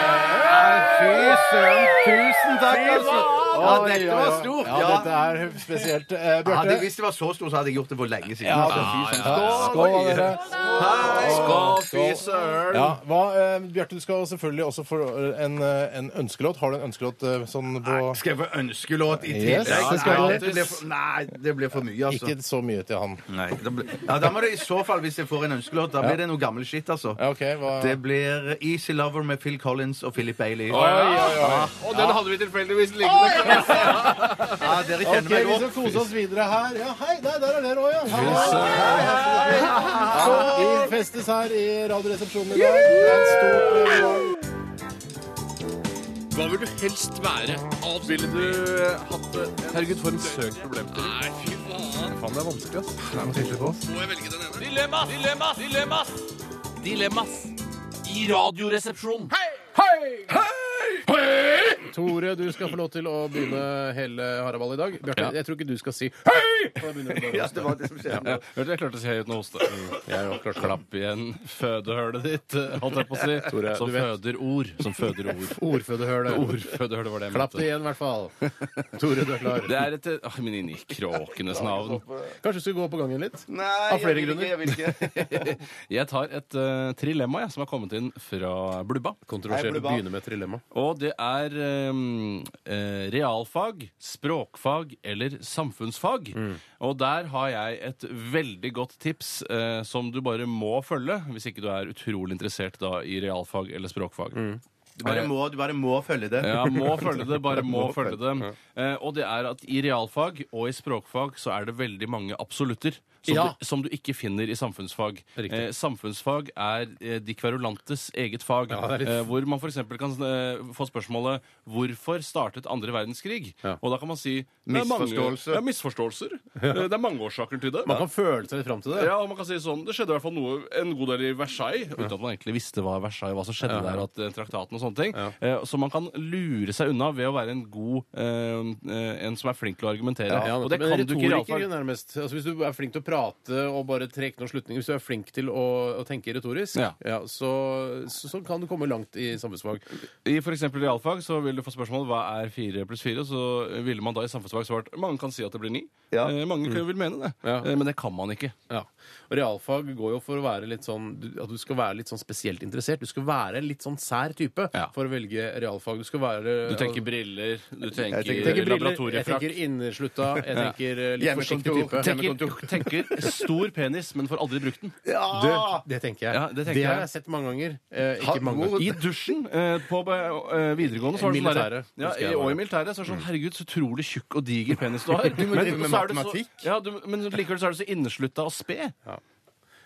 Speaker 7: Fy søren, tusen
Speaker 9: takk, altså. Ja, dette var stort,
Speaker 7: Ja,
Speaker 9: ja.
Speaker 7: dette er spesielt. Eh,
Speaker 9: Ja,
Speaker 7: Bjarte.
Speaker 9: det, hvis det var så stort, så hadde jeg gjort det for lenge siden.
Speaker 7: Ja,
Speaker 9: altså.
Speaker 7: ja,
Speaker 9: Fy
Speaker 7: ja, ja.
Speaker 9: søren.
Speaker 7: Skål, dere.
Speaker 9: Hei, skål, fy
Speaker 7: Ja,
Speaker 9: søren.
Speaker 7: hva, eh, Bjarte, du skal selvfølgelig også få eh, en, eh, en ønskelåt. Har du en ønskelåt eh, sånn på
Speaker 9: Skal jeg få ønskelåt i
Speaker 7: Yes,
Speaker 9: tillegg?
Speaker 7: det skal
Speaker 9: Nei,
Speaker 7: du.
Speaker 9: det blir for- nei, det blir for mye, altså.
Speaker 7: Ikke så mye til han.
Speaker 9: Nei, da blir- ja, da må det i så fall, hvis jeg får en ønskelåt, da
Speaker 7: Ja.
Speaker 9: blir det noe gammel shit, altså.
Speaker 7: hva-
Speaker 9: Det blir Easy Lover med Phil Collins og Philip Bailey. Ah.
Speaker 8: Oi, oi, oi.
Speaker 9: Ja.
Speaker 8: Og den hadde vi tilfeldigvis liggende.
Speaker 9: *laughs* Ja, dere kjenner
Speaker 7: Ok,
Speaker 9: meg
Speaker 7: Vi skal
Speaker 9: godt.
Speaker 7: kose oss videre her. Ja, hei, der, der er dere òg, ja. Hei,
Speaker 9: hei.
Speaker 7: Vi festes her i Radioresepsjonen i dag. Det er en stor eh, morgen.
Speaker 20: Hva vil du helst være? Ville du hatt det? Herregud, for en søk problemstilling. Nei, fy faen.
Speaker 21: Faen, det er vanskelig, ass. Det er noe tydelig på oss.
Speaker 20: Må jeg velge den ene? Dilemmas! Dilemmas! Dilemmas! Dilemmas i Radioresepsjonen. Hei!
Speaker 7: Tore, du skal få lov til å begynne hele haraballet i dag. Bjarte,
Speaker 8: Ja.
Speaker 7: jeg tror ikke du skal si hei! for da begynner du bare å
Speaker 8: Ja,
Speaker 7: hoste.
Speaker 8: det var det som skjedde. Ja. Hørte jeg klarte å si høyt nå hoste. Mm, Jeg har klart klapp igjen fødehølet ditt, holdt jeg på å si.
Speaker 7: Tore,
Speaker 8: som
Speaker 7: du vet.
Speaker 8: føder ord. Som føder ord.
Speaker 7: *laughs* Ordfødehølet.
Speaker 8: Ordfødehølet var det jeg
Speaker 7: Klapp
Speaker 8: mente.
Speaker 7: det igjen, i hvert fall. Tore, du er klar.
Speaker 8: Det er et ah, Men inni kråkenes navn.
Speaker 7: Kanskje du skulle gå på gangen litt? Nei, Av
Speaker 9: jeg
Speaker 7: flere
Speaker 9: vil ikke,
Speaker 7: grunner.
Speaker 9: jeg vil ikke.
Speaker 8: *laughs* Jeg tar et eh, trilemma jeg, som er kommet inn fra Blubba.
Speaker 7: Kontroversielt å begynne med trilemma.
Speaker 8: Og det er ehm, eh, realfag, språkfag eller samfunnsfag. Og der har jeg et veldig godt tips eh, som du bare må følge hvis ikke du er utrolig interessert da, i realfag eller språkfag.
Speaker 9: Du bare, må, du bare må følge det.
Speaker 8: Ja, må følge det. Bare må følge det.
Speaker 9: Ja.
Speaker 8: Eh, og det er at i realfag og i språkfag så er det veldig mange absolutter. Som,
Speaker 7: Ja.
Speaker 8: du, som du ikke finner i samfunnsfag. Eh, samfunnsfag er eh, de kverulantes eget fag.
Speaker 7: det er litt-
Speaker 8: eh, hvor man f.eks. kan eh, få spørsmålet 'Hvorfor startet andre verdenskrig?' Og da kan man si det er mange-
Speaker 7: Misforståelse.
Speaker 8: Det er misforståelser. Eh, Det er mange årsaker til det.
Speaker 7: Man kan føle seg litt fram til det.
Speaker 8: Ja, og man kan si sånn, Det skjedde i hvert fall noe, en god del i Versailles, uten at man egentlig visste hva Versailles, hva som skjedde
Speaker 7: Ja.
Speaker 8: der, og at eh, traktaten og sånne ting. Eh, så man kan lure seg unna ved å være en god eh, eh, En som er flink til å argumentere.
Speaker 7: Ja,
Speaker 8: og det
Speaker 7: men
Speaker 8: kan du ikke i
Speaker 7: retoriker
Speaker 8: realfag.
Speaker 7: nærmest. Altså, hvis du er flink til å prate og bare trekke noen slutninger, hvis du er flink til å, å tenke retorisk,
Speaker 8: Ja.
Speaker 7: så, så, så kan du komme langt i samfunnsfag.
Speaker 8: I for eksempel realfag så vil du få spørsmål hva er fire pluss fire. Så ville man da i samfunnsfag svart mange kan si at det blir ni. Eh, mange kan- vil mene det. Eh, men det kan man ikke.
Speaker 7: Ja. Og realfag går jo for å være litt sånn du- at du skal være litt sånn spesielt interessert. Du skal være en litt sånn sær type for å velge realfag. Du skal være
Speaker 8: Du tenker briller, du tenker,
Speaker 7: Jeg tenker, jeg tenker briller, jeg
Speaker 8: laboratoriefrakk.
Speaker 7: tenker inneslutta, jeg
Speaker 8: Ja.
Speaker 7: tenker eh, litt forsiktig type.
Speaker 8: Tenker, tenker stor penis, men får aldri brukt den.
Speaker 7: Du, det tenker jeg.
Speaker 8: Ja, det
Speaker 7: det,
Speaker 8: tenker
Speaker 7: har
Speaker 8: jeg.
Speaker 7: jeg sett mange ganger. Eh,
Speaker 8: Ha-
Speaker 7: ikke mange
Speaker 8: I dusjen eh, på eh, videregående så var det sånn
Speaker 7: Militæret,
Speaker 8: der- ja,
Speaker 7: husker jeg
Speaker 8: i-
Speaker 7: var
Speaker 8: Og i
Speaker 7: det.
Speaker 8: militæret så er det sånn Herregud, så utrolig tjukk og diger penis du har.
Speaker 7: Du må drive med
Speaker 8: så er du
Speaker 7: matematikk.
Speaker 8: Så, ja, du, men likevel så er du så inneslutta og sped.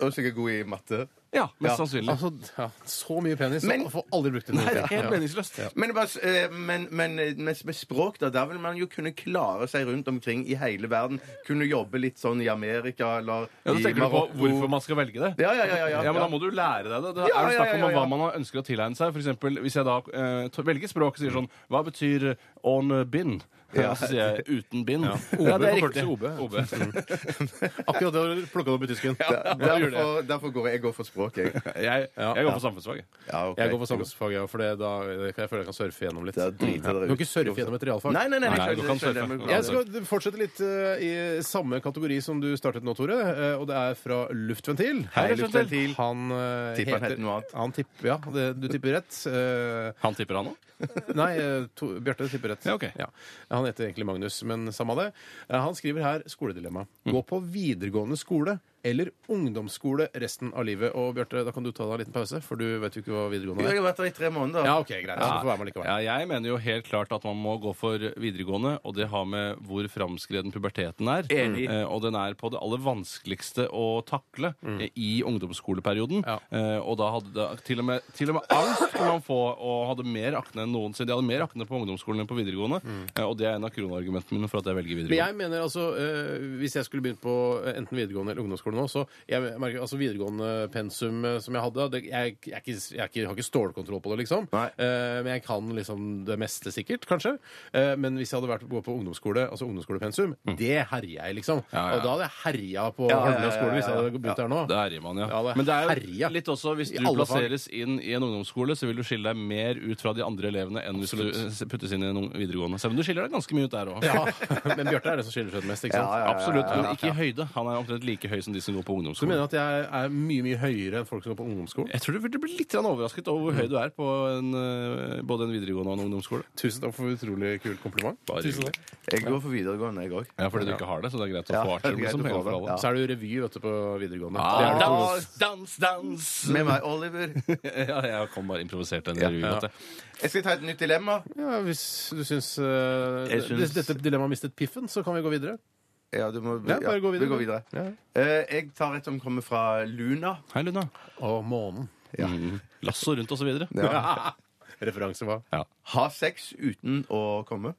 Speaker 9: Og sikkert god i matte.
Speaker 8: Ja, mest sannsynlig.
Speaker 7: Altså, ja, så mye penis,
Speaker 9: Men-
Speaker 7: og får aldri brukt det.
Speaker 9: Nei, det er helt
Speaker 8: meningsløst.
Speaker 9: Men, bare s- eh, men, men eh, med, med språk, da, der vil man jo kunne klare seg rundt omkring i hele verden. Kunne jobbe litt sånn i Amerika eller
Speaker 8: Ja, Da
Speaker 9: i
Speaker 8: tenker du på
Speaker 9: Marokko.
Speaker 8: hvorfor man skal velge det.
Speaker 9: Ja, ja, ja, ja, ja.
Speaker 8: men Da må du lære deg det. Det
Speaker 9: Ja,
Speaker 8: er jo
Speaker 9: ja,
Speaker 8: snakk
Speaker 9: ja,
Speaker 8: om
Speaker 9: ja, ja.
Speaker 8: hva man har ønsker å tilegne seg. For eksempel, hvis jeg da eh, to- velger språk og sier sånn Hva betyr on bind?
Speaker 7: Ja.
Speaker 8: Så sier jeg uten bind. Ja. det
Speaker 7: OB
Speaker 8: er
Speaker 7: på
Speaker 8: riktig.
Speaker 7: første OB. Akkurat det har du plukka opp i tysken.
Speaker 9: Ja,
Speaker 7: Ja, gjør det.
Speaker 9: derfor, derfor går jeg går for språk,
Speaker 7: *laughs*
Speaker 9: jeg.
Speaker 7: Jeg, jeg går for samfunnsfag.
Speaker 9: Ja, ok.
Speaker 7: Jeg går for samfunnsfag, ja, for det, da jeg føler jeg kan surfe gjennom litt.
Speaker 9: driter dere
Speaker 7: Du kan ikke surfe gjennom et realfag.
Speaker 9: Nei, nei, nei, jeg
Speaker 7: du
Speaker 9: skjønner,
Speaker 7: kan
Speaker 9: jeg
Speaker 7: surfe.
Speaker 9: skjønner, men-
Speaker 8: altså,
Speaker 7: Jeg skal fortsette litt eh, i samme kategori som du startet nå, Tore. eh, Og det er fra Luftventil.
Speaker 9: Hei,
Speaker 7: Her er
Speaker 9: Luftventil.
Speaker 7: Han eh,
Speaker 9: Tipper han heter noe
Speaker 7: Han tipper, ja, det, du tipper rett. eh,
Speaker 8: han tipper han òg?
Speaker 7: *laughs* Nei, eh, to- Bjarte tipper rett. Ja. Han heter egentlig Magnus, men samme det. Eh, Han skriver her skoledilemma.
Speaker 9: Mm.
Speaker 7: Gå på videregående skole eller ungdomsskole resten av livet. Og Bjarte, da kan du ta deg en liten pause, for du vet jo ikke hva videregående
Speaker 9: Jeg
Speaker 7: er.
Speaker 9: har vært der i tre måneder.
Speaker 7: Ja, ok, greit. Så du får være med likevel.
Speaker 8: Ja, jeg mener jo helt klart at man må gå for videregående, og det har med hvor framskreden puberteten er.
Speaker 7: Enig.
Speaker 8: Eh, Og den er på det aller vanskeligste å takle eh, i ungdomsskoleperioden. Eh, Og da hadde da, til, og med, til og med angst kunne man få, og hadde mer akne enn noensinne. De hadde mer akne på ungdomsskolen enn på videregående, eh, og det er en av kronargumentene mine for at jeg velger
Speaker 7: Men
Speaker 8: videregående.
Speaker 7: jeg mener altså, eh, Hvis jeg skulle begynt på eh, enten videregående eller ungdomsskole nå så jeg merker, altså Videregående pensum eh, som jeg hadde det, jeg, jeg, er ikke, jeg, er ikke, har ikke stålkontroll på det, liksom. Eh, men jeg kan liksom det meste sikkert, kanskje. Eh, men hvis jeg hadde vært gått på ungdomsskole, altså ungdomsskolepensum, det herja jeg, liksom.
Speaker 8: Mm. ja, ja.
Speaker 7: Og da hadde jeg herja på
Speaker 8: Ja, ja, ja,
Speaker 7: Holmlia skole hvis jeg
Speaker 8: ja, ja,
Speaker 7: hadde begynt
Speaker 8: ja.
Speaker 7: der nå.
Speaker 8: Det herjer man, ja.
Speaker 7: det
Speaker 8: Men det er
Speaker 7: herja.
Speaker 8: jo litt også, hvis
Speaker 7: I
Speaker 8: du
Speaker 7: alle fag.
Speaker 8: plasseres inn i en ungdomsskole, så vil du skille deg mer ut fra de andre elevene enn hvis du eh, puttes inn i en ung- videregående. Selv om du skiller deg ganske mye ut der *laughs* òg.
Speaker 7: *laughs* Ja, men Bjarte er den som skiller seg ut mest, ikke sant?
Speaker 8: Absolutt, men
Speaker 7: Ja.
Speaker 8: ikke i høyde. Han er omtrent like høy som de som går på
Speaker 7: Så du
Speaker 8: ungdomsskolen.
Speaker 7: mener at jeg er mye mye høyere enn folk som går på ungdomsskolen?
Speaker 8: Jeg tror du blir litt grann overrasket over
Speaker 7: Mm.
Speaker 8: hvor høy du er på en, eh, både en videregående og en ungdomsskole.
Speaker 7: Tusen takk for utrolig kult kompliment.
Speaker 8: Bare
Speaker 7: Tusen
Speaker 8: hyggelig.
Speaker 7: takk.
Speaker 9: Jeg går for videregående, jeg òg.
Speaker 8: Ja, fordi du ikke har det, så det er greit å få artium som hele for alle.
Speaker 7: Så er det jo revy vet du, på videregående.
Speaker 8: Ah,
Speaker 7: Det er det ikke
Speaker 8: dans,
Speaker 7: noe-
Speaker 8: dans, dans!
Speaker 7: *laughs*
Speaker 9: Med meg, Oliver.
Speaker 8: ja, jeg kom bare improvisert den revyen.
Speaker 7: Ja.
Speaker 8: vet du.
Speaker 9: Jeg skal ta et nytt dilemma.
Speaker 7: ja, Hvis du syns eh,
Speaker 9: Jeg
Speaker 7: det-
Speaker 9: syns-
Speaker 7: dette dilemmaet mistet piffen, så kan vi gå videre.
Speaker 9: Ja, du må
Speaker 7: Ja, bare
Speaker 9: ja,
Speaker 7: gå videre.
Speaker 9: vi går videre.
Speaker 7: Ja.
Speaker 9: Eh, jeg tar et som kommer fra Luna.
Speaker 8: Hei, Luna.
Speaker 7: Og månen.
Speaker 9: Ja.
Speaker 8: Lasso rundt og så videre.
Speaker 9: Ja.
Speaker 7: Referanse hva?
Speaker 9: Ha sex uten å komme,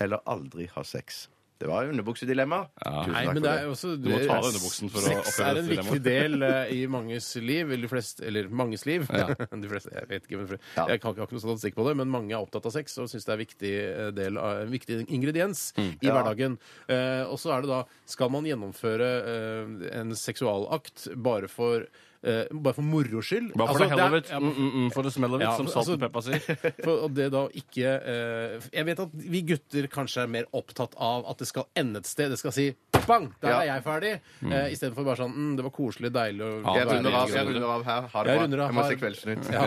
Speaker 9: eller aldri ha sex. Det var jo underbuksedilemma. Tusen
Speaker 7: Nei,
Speaker 9: takk
Speaker 7: men
Speaker 9: for
Speaker 7: det er også,
Speaker 9: Du må
Speaker 7: det-
Speaker 9: ta av underbuksen for å
Speaker 7: Sex
Speaker 9: oppleve
Speaker 7: er en
Speaker 9: dette
Speaker 7: viktig del eh, i manges liv. Eller, de fleste, eller manges liv.
Speaker 9: Ja.
Speaker 7: *laughs* de fleste, jeg vet ikke, men fl- jeg kan ikke ha noen statistikk på det, men mange er opptatt av sex og syns det er en viktig, eh, del av- en viktig ingrediens i
Speaker 9: Mm. Ja.
Speaker 7: hverdagen. Eh, og så er det da Skal man gjennomføre eh, en seksualakt bare for eh, bare for moro skyld?
Speaker 8: Bare for the hell of
Speaker 7: Altså, det
Speaker 8: it.
Speaker 7: er- altså, ja,
Speaker 8: Mm, mm, mm, for the smell of it, som Salt and Pepper sier.
Speaker 7: for, og det da ikke eh, Jeg vet at vi gutter kanskje er mer opptatt av at det skal ende et sted. Det skal si bang, der
Speaker 9: Ja.
Speaker 7: er jeg ferdig.
Speaker 9: Mm.
Speaker 7: Eh, Istedenfor bare sånn mm, det var koselig, deilig og
Speaker 9: Ja, jeg
Speaker 7: deilig,
Speaker 9: runder av,
Speaker 7: gøy».
Speaker 9: jeg runder av her. Ha det
Speaker 7: Jeg
Speaker 9: bra.
Speaker 7: runder av
Speaker 9: Jeg må
Speaker 7: her.
Speaker 9: se Kveldsnytt.
Speaker 7: Ja.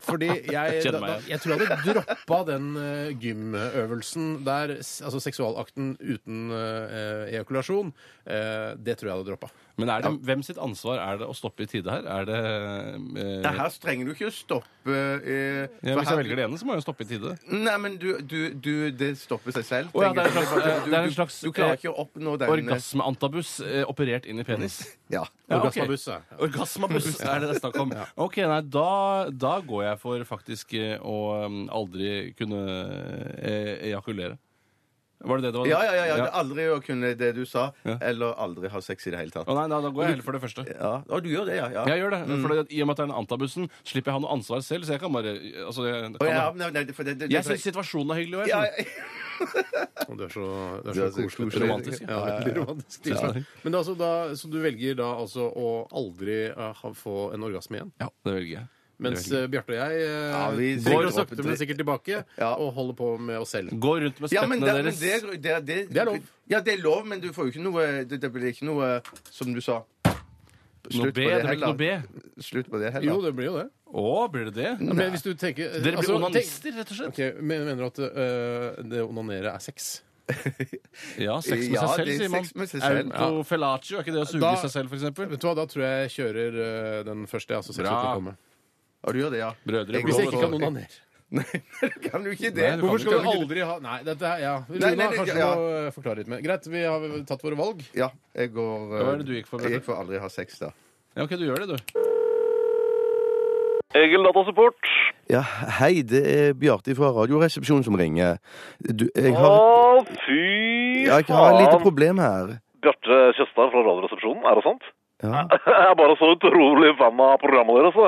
Speaker 9: *laughs*
Speaker 7: Fordi jeg,
Speaker 9: Kjenner
Speaker 7: da,
Speaker 9: meg
Speaker 7: da,
Speaker 9: igjen.
Speaker 7: jeg tror jeg hadde droppa den eh, gymøvelsen der, s- altså seksualakten uten eh, ejakulasjon. eh, det tror jeg hadde droppa.
Speaker 8: Men er det, hvem sitt ansvar er det å stoppe i tide her? Er det, eh,
Speaker 9: Det her trenger du ikke å stoppe eh,
Speaker 8: ja,
Speaker 9: for
Speaker 8: Hvis
Speaker 9: her-
Speaker 8: jeg velger det ene, så må jeg jo stoppe i tide.
Speaker 9: Nei, men du, du, du Det stopper seg selv.
Speaker 8: Å ja, det er en
Speaker 9: tenker jeg.
Speaker 8: slags, eh,
Speaker 9: Du-
Speaker 8: det er en
Speaker 9: du-
Speaker 8: slags
Speaker 9: Du klarer ikke å oppnå den eh,
Speaker 8: Orgasmeantabus eh, operert inn i penis. *laughs*
Speaker 9: Ja.
Speaker 8: ok.
Speaker 9: Orgasmabuss, ja.
Speaker 8: Orgasmabuss er det det er snakk om. Ok, nei, da, da går jeg for faktisk eh, å um, aldri kunne eh, ejakulere. Var det det det var?
Speaker 9: Ja, ja, ja. ja. Det er Aldri å kunne det du sa, eller aldri ha sex i det hele tatt.
Speaker 8: Å nei, nei, da går jeg heller for det første.
Speaker 9: Ja, Å, du gjør det, ja. ja.
Speaker 8: Jeg gjør det,
Speaker 9: Mm.
Speaker 8: for I og med at det er den antabussen, slipper jeg ha noe ansvar selv. Så jeg kan bare altså, jeg,
Speaker 9: Å,
Speaker 8: kan
Speaker 9: ja,
Speaker 8: bare-
Speaker 9: nei, nei, for det, det,
Speaker 8: Jeg syns situasjonen er hyggelig. og jeg
Speaker 9: Ja,
Speaker 8: skjønner.
Speaker 7: Og det er så,
Speaker 8: Det
Speaker 7: det er
Speaker 8: er
Speaker 7: så
Speaker 8: så
Speaker 7: koselig.
Speaker 8: koselig. Romantisk, ja.
Speaker 7: Ja, veldig romantisk tilstand.
Speaker 8: Ja.
Speaker 7: Men det er altså da, så du velger da altså å aldri eh, ha- få en orgasme igjen?
Speaker 8: Ja, det velger jeg.
Speaker 7: Mens
Speaker 8: Det velger jeg.
Speaker 7: eh, Bjarte og jeg eh,
Speaker 8: Ja, vi
Speaker 7: går
Speaker 8: sikkert-
Speaker 7: sakte, men sikkert tilbake og holder på med oss selv.
Speaker 8: Går rundt
Speaker 9: Ja, men det, men det, det, det,
Speaker 7: Det er lov.
Speaker 9: Ja, det er lov, men du får jo ikke noe Det, det blir ikke noe, som du sa
Speaker 8: Noe B, det blir ikke noe
Speaker 9: B. Slutt på det heller.
Speaker 7: Jo, det blir jo det.
Speaker 8: Å, blir det det? Altså,
Speaker 7: Ja, Men hvis du tenker eh,
Speaker 8: Dere blir onanister,
Speaker 7: rett og slett? men, mener du at eh, det å onanere er sex?
Speaker 8: Ja, sex med seg selv, sier man. Autofellatio, er ikke det å suge seg selv, f.eks.?
Speaker 7: Vet du hva, da tror jeg jeg kjører eh, den første, altså sex
Speaker 8: Bra.
Speaker 7: uten å komme.
Speaker 9: Ja, du gjør
Speaker 22: *laughs*
Speaker 9: det, ja.
Speaker 8: Brødre,
Speaker 7: Hvis jeg ikke kan onanere.
Speaker 9: *laughs* Kan du ikke
Speaker 7: Nei,
Speaker 9: det?
Speaker 7: du Hvorfor skal du aldri ha Nei, dette er ja.
Speaker 9: Nei, nei,
Speaker 7: Rune
Speaker 9: nei,
Speaker 7: kanskje
Speaker 9: ja.
Speaker 7: må eh, forklare litt mer. Greit, vi har tatt våre valg.
Speaker 9: Ja, jeg går eh,
Speaker 7: Hva er det du gikk for, Bjarte?
Speaker 9: Jeg gikk for aldri ha sex, da.
Speaker 8: Ja, OK, du gjør det, du.
Speaker 10: Egil Datasupport.
Speaker 22: Ja, hei, det er Bjarte fra Radioresepsjonen som ringer. Du, jeg
Speaker 10: Å,
Speaker 22: har,
Speaker 10: fy
Speaker 22: ja, jeg har et lite problem her.
Speaker 10: Bjarte Tjøstheim fra Radioresepsjonen, er det sant?
Speaker 22: Ja.
Speaker 10: *laughs* Jeg er bare så utrolig fan av programmet deres. så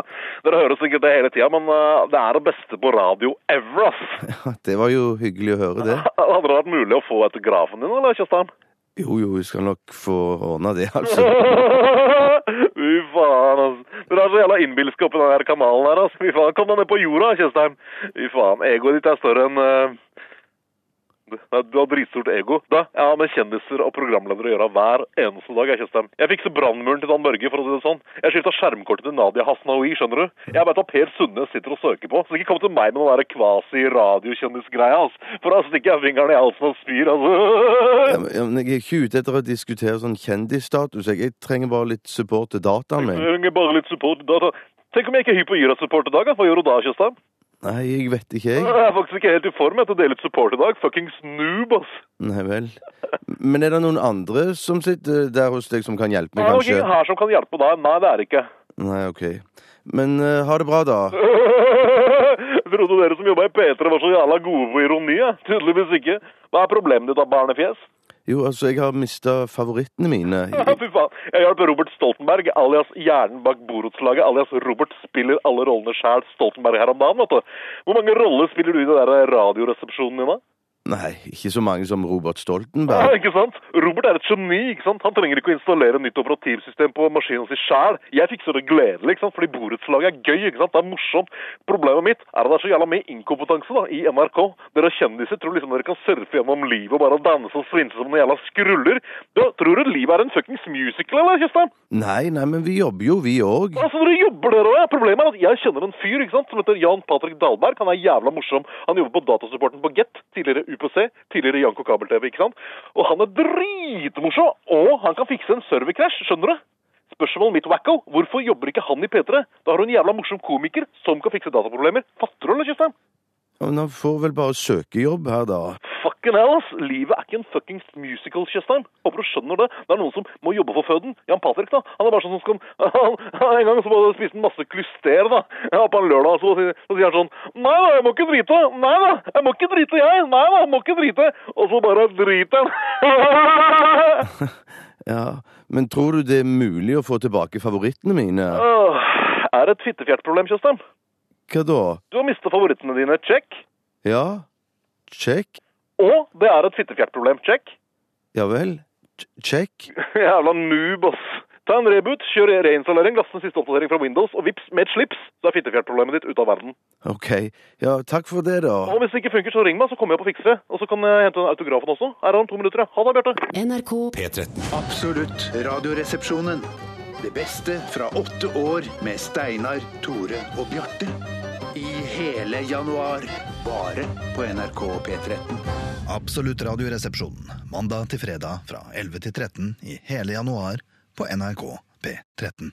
Speaker 10: Dere hører sikkert det hele tida, men eh, det er det beste på radio ever, ass.
Speaker 9: *laughs*
Speaker 22: Ja, Det var jo hyggelig å høre det.
Speaker 10: *laughs* Hadde det vært mulig å få autografen din, eller, Tjøstheim?
Speaker 22: Jo, jo, vi skal nok få ordna det, altså.
Speaker 10: Vi *laughs* fy faen, altså. Men det er så jævla innbilsk oppi den her kanalen her, altså. Fy faen, kom deg ned på jorda, Tjøstheim. Fy faen, egoet ditt er større enn eh, Nei, du har dritstort ego. Da, Jeg har med kjendiser og programledere å gjøre hver eneste dag. Jeg, Tjøstheim. jeg fikser brannmuren til Dan Børge, for å si det sånn. Jeg skifta skjermkortet til Nadia Hasnaoui, skjønner du. Jeg veit at Per Sundnes sitter og søker på, så ikke kom til meg med den der kvasi-radiokjendisgreia, altså. For da stikker jeg fingeren i halsen og spyr, altså. *laughs*
Speaker 9: Ja, men- ja, men jeg er ikke ute etter å diskutere sånn kjendisstatus. Jeg, jeg trenger bare litt support til dataen min.
Speaker 10: Jeg trenger bare litt support. Da, da. Tenk om jeg ikke er hypp på å gi deg support i dag? da? Hva gjør du da, Tjøstheim?
Speaker 9: Nei, jeg vet ikke,
Speaker 10: Jeg
Speaker 9: jeg.
Speaker 10: er faktisk ikke helt i form jeg, til å dele ut support i dag. Fucking snoob, ass.
Speaker 9: Nei vel. Men er det noen andre som sitter der hos deg som kan hjelpe meg,
Speaker 10: Er det ingen
Speaker 9: kanskje?
Speaker 10: her som kan hjelpe deg? Nei, det er det ikke. *laughs*
Speaker 9: Nei, ok. Men eh, ha det bra, da.
Speaker 10: Trodde dere som jobba i P3 var så jævla gode på ironi, jeg. Tydeligvis ikke. Hva er problemet ditt, da, barnefjes? *laughs*
Speaker 9: Jo, altså, jeg har mista favorittene mine.
Speaker 10: Fy faen. Jeg hjalp Robert Stoltenberg, alias hjernen bak borettslaget, alias Robert spiller alle rollene sjæl, Stoltenberg her om dagen, vet du. Hvor mange roller spiller du i den der radioresepsjonen din, da?
Speaker 9: Nei, ikke så mange som Robert
Speaker 10: Ja,
Speaker 9: Stoltenberg.
Speaker 10: ikke sant? Robert er et geni. ikke sant? Han trenger ikke å installere nytt operativsystem på maskinen sin sjæl. Jeg fikser det gledelig, ikke sant? fordi borettslaget er gøy. ikke sant? Det er morsomt. Problemet mitt er at det er så jævla mye inkompetanse da, i NRK. Dere kjendiser tror liksom dere kan surfe gjennom livet og bare danse og svinse som noen jævla skruller. Du, tror du livet er en fuckings musical, eller, Kjøstheim?
Speaker 9: Nei, nei, men vi jobber jo, vi òg.
Speaker 10: Altså, dere jobber dere også. Problemet er at jeg kjenner en fyr ikke sant, som heter Jan Patrick Dahlberg. Han er jævla morsom. Han jobber på datasupporten på Get, tidligere UPC, tidligere Janko Kabel-TV. ikke sant? Og han er dritmorsom, og han kan fikse en serverkrasj, skjønner du? Spørsmålet mitt, Wacko, hvorfor jobber ikke han i P3? Da har du en jævla morsom komiker som kan fikse dataproblemer. Fatter du, eller, Kjøstheim?
Speaker 9: Ja, Men han får vel bare søkejobb her, da.
Speaker 10: Fucking hell, ass! Livet er ikke en fuckings musical, Tjøstheim. Håper du skjønner det. Det er noen som må jobbe for føden. Jan Patrick, da. Han er bare sånn som skal *laughs* han, han, En gang så bare spiste han masse klyster, da. Ja, på en lørdag, så, sier- så sier han sånn Nei da, jeg må ikke drite. Nei da, jeg må ikke drite, jeg. Nei da, jeg må ikke drite. Og så bare driter han. *laughs*
Speaker 9: Ja, Men tror du det er mulig å få tilbake favorittene mine?
Speaker 10: Åh, er det et fittefjertproblem, Tjøstheim?
Speaker 9: Hva da?
Speaker 10: Du har mistet favorittene dine. Check.
Speaker 9: Ja? Check?
Speaker 10: Og det er et fittefjertproblem. Check. *laughs*
Speaker 9: Ja vel? Ch- Check?
Speaker 10: Jævla noob, ass. Ta en reboot, kjør reinstallering, last en siste oppdatering fra Windows, og vips, med et slips, så er fittefjertproblemet ditt ute av verden.
Speaker 9: OK. Ja, takk for det, da.
Speaker 10: Og hvis det ikke funker, så ring meg, så kommer jeg opp og fikser det. Og så kan jeg hente den autografen også. Her er han to minutter, ja. Ha det, Bjarte.
Speaker 17: NRK P13. Absolutt Radioresepsjonen. Det beste fra åtte år med Steinar, Tore og Bjarte. I hele januar. Bare på NRK P13.
Speaker 23: Absolutt radioresepsjonen. Mandag til fredag fra 11 til 13 i hele januar på NRK P13.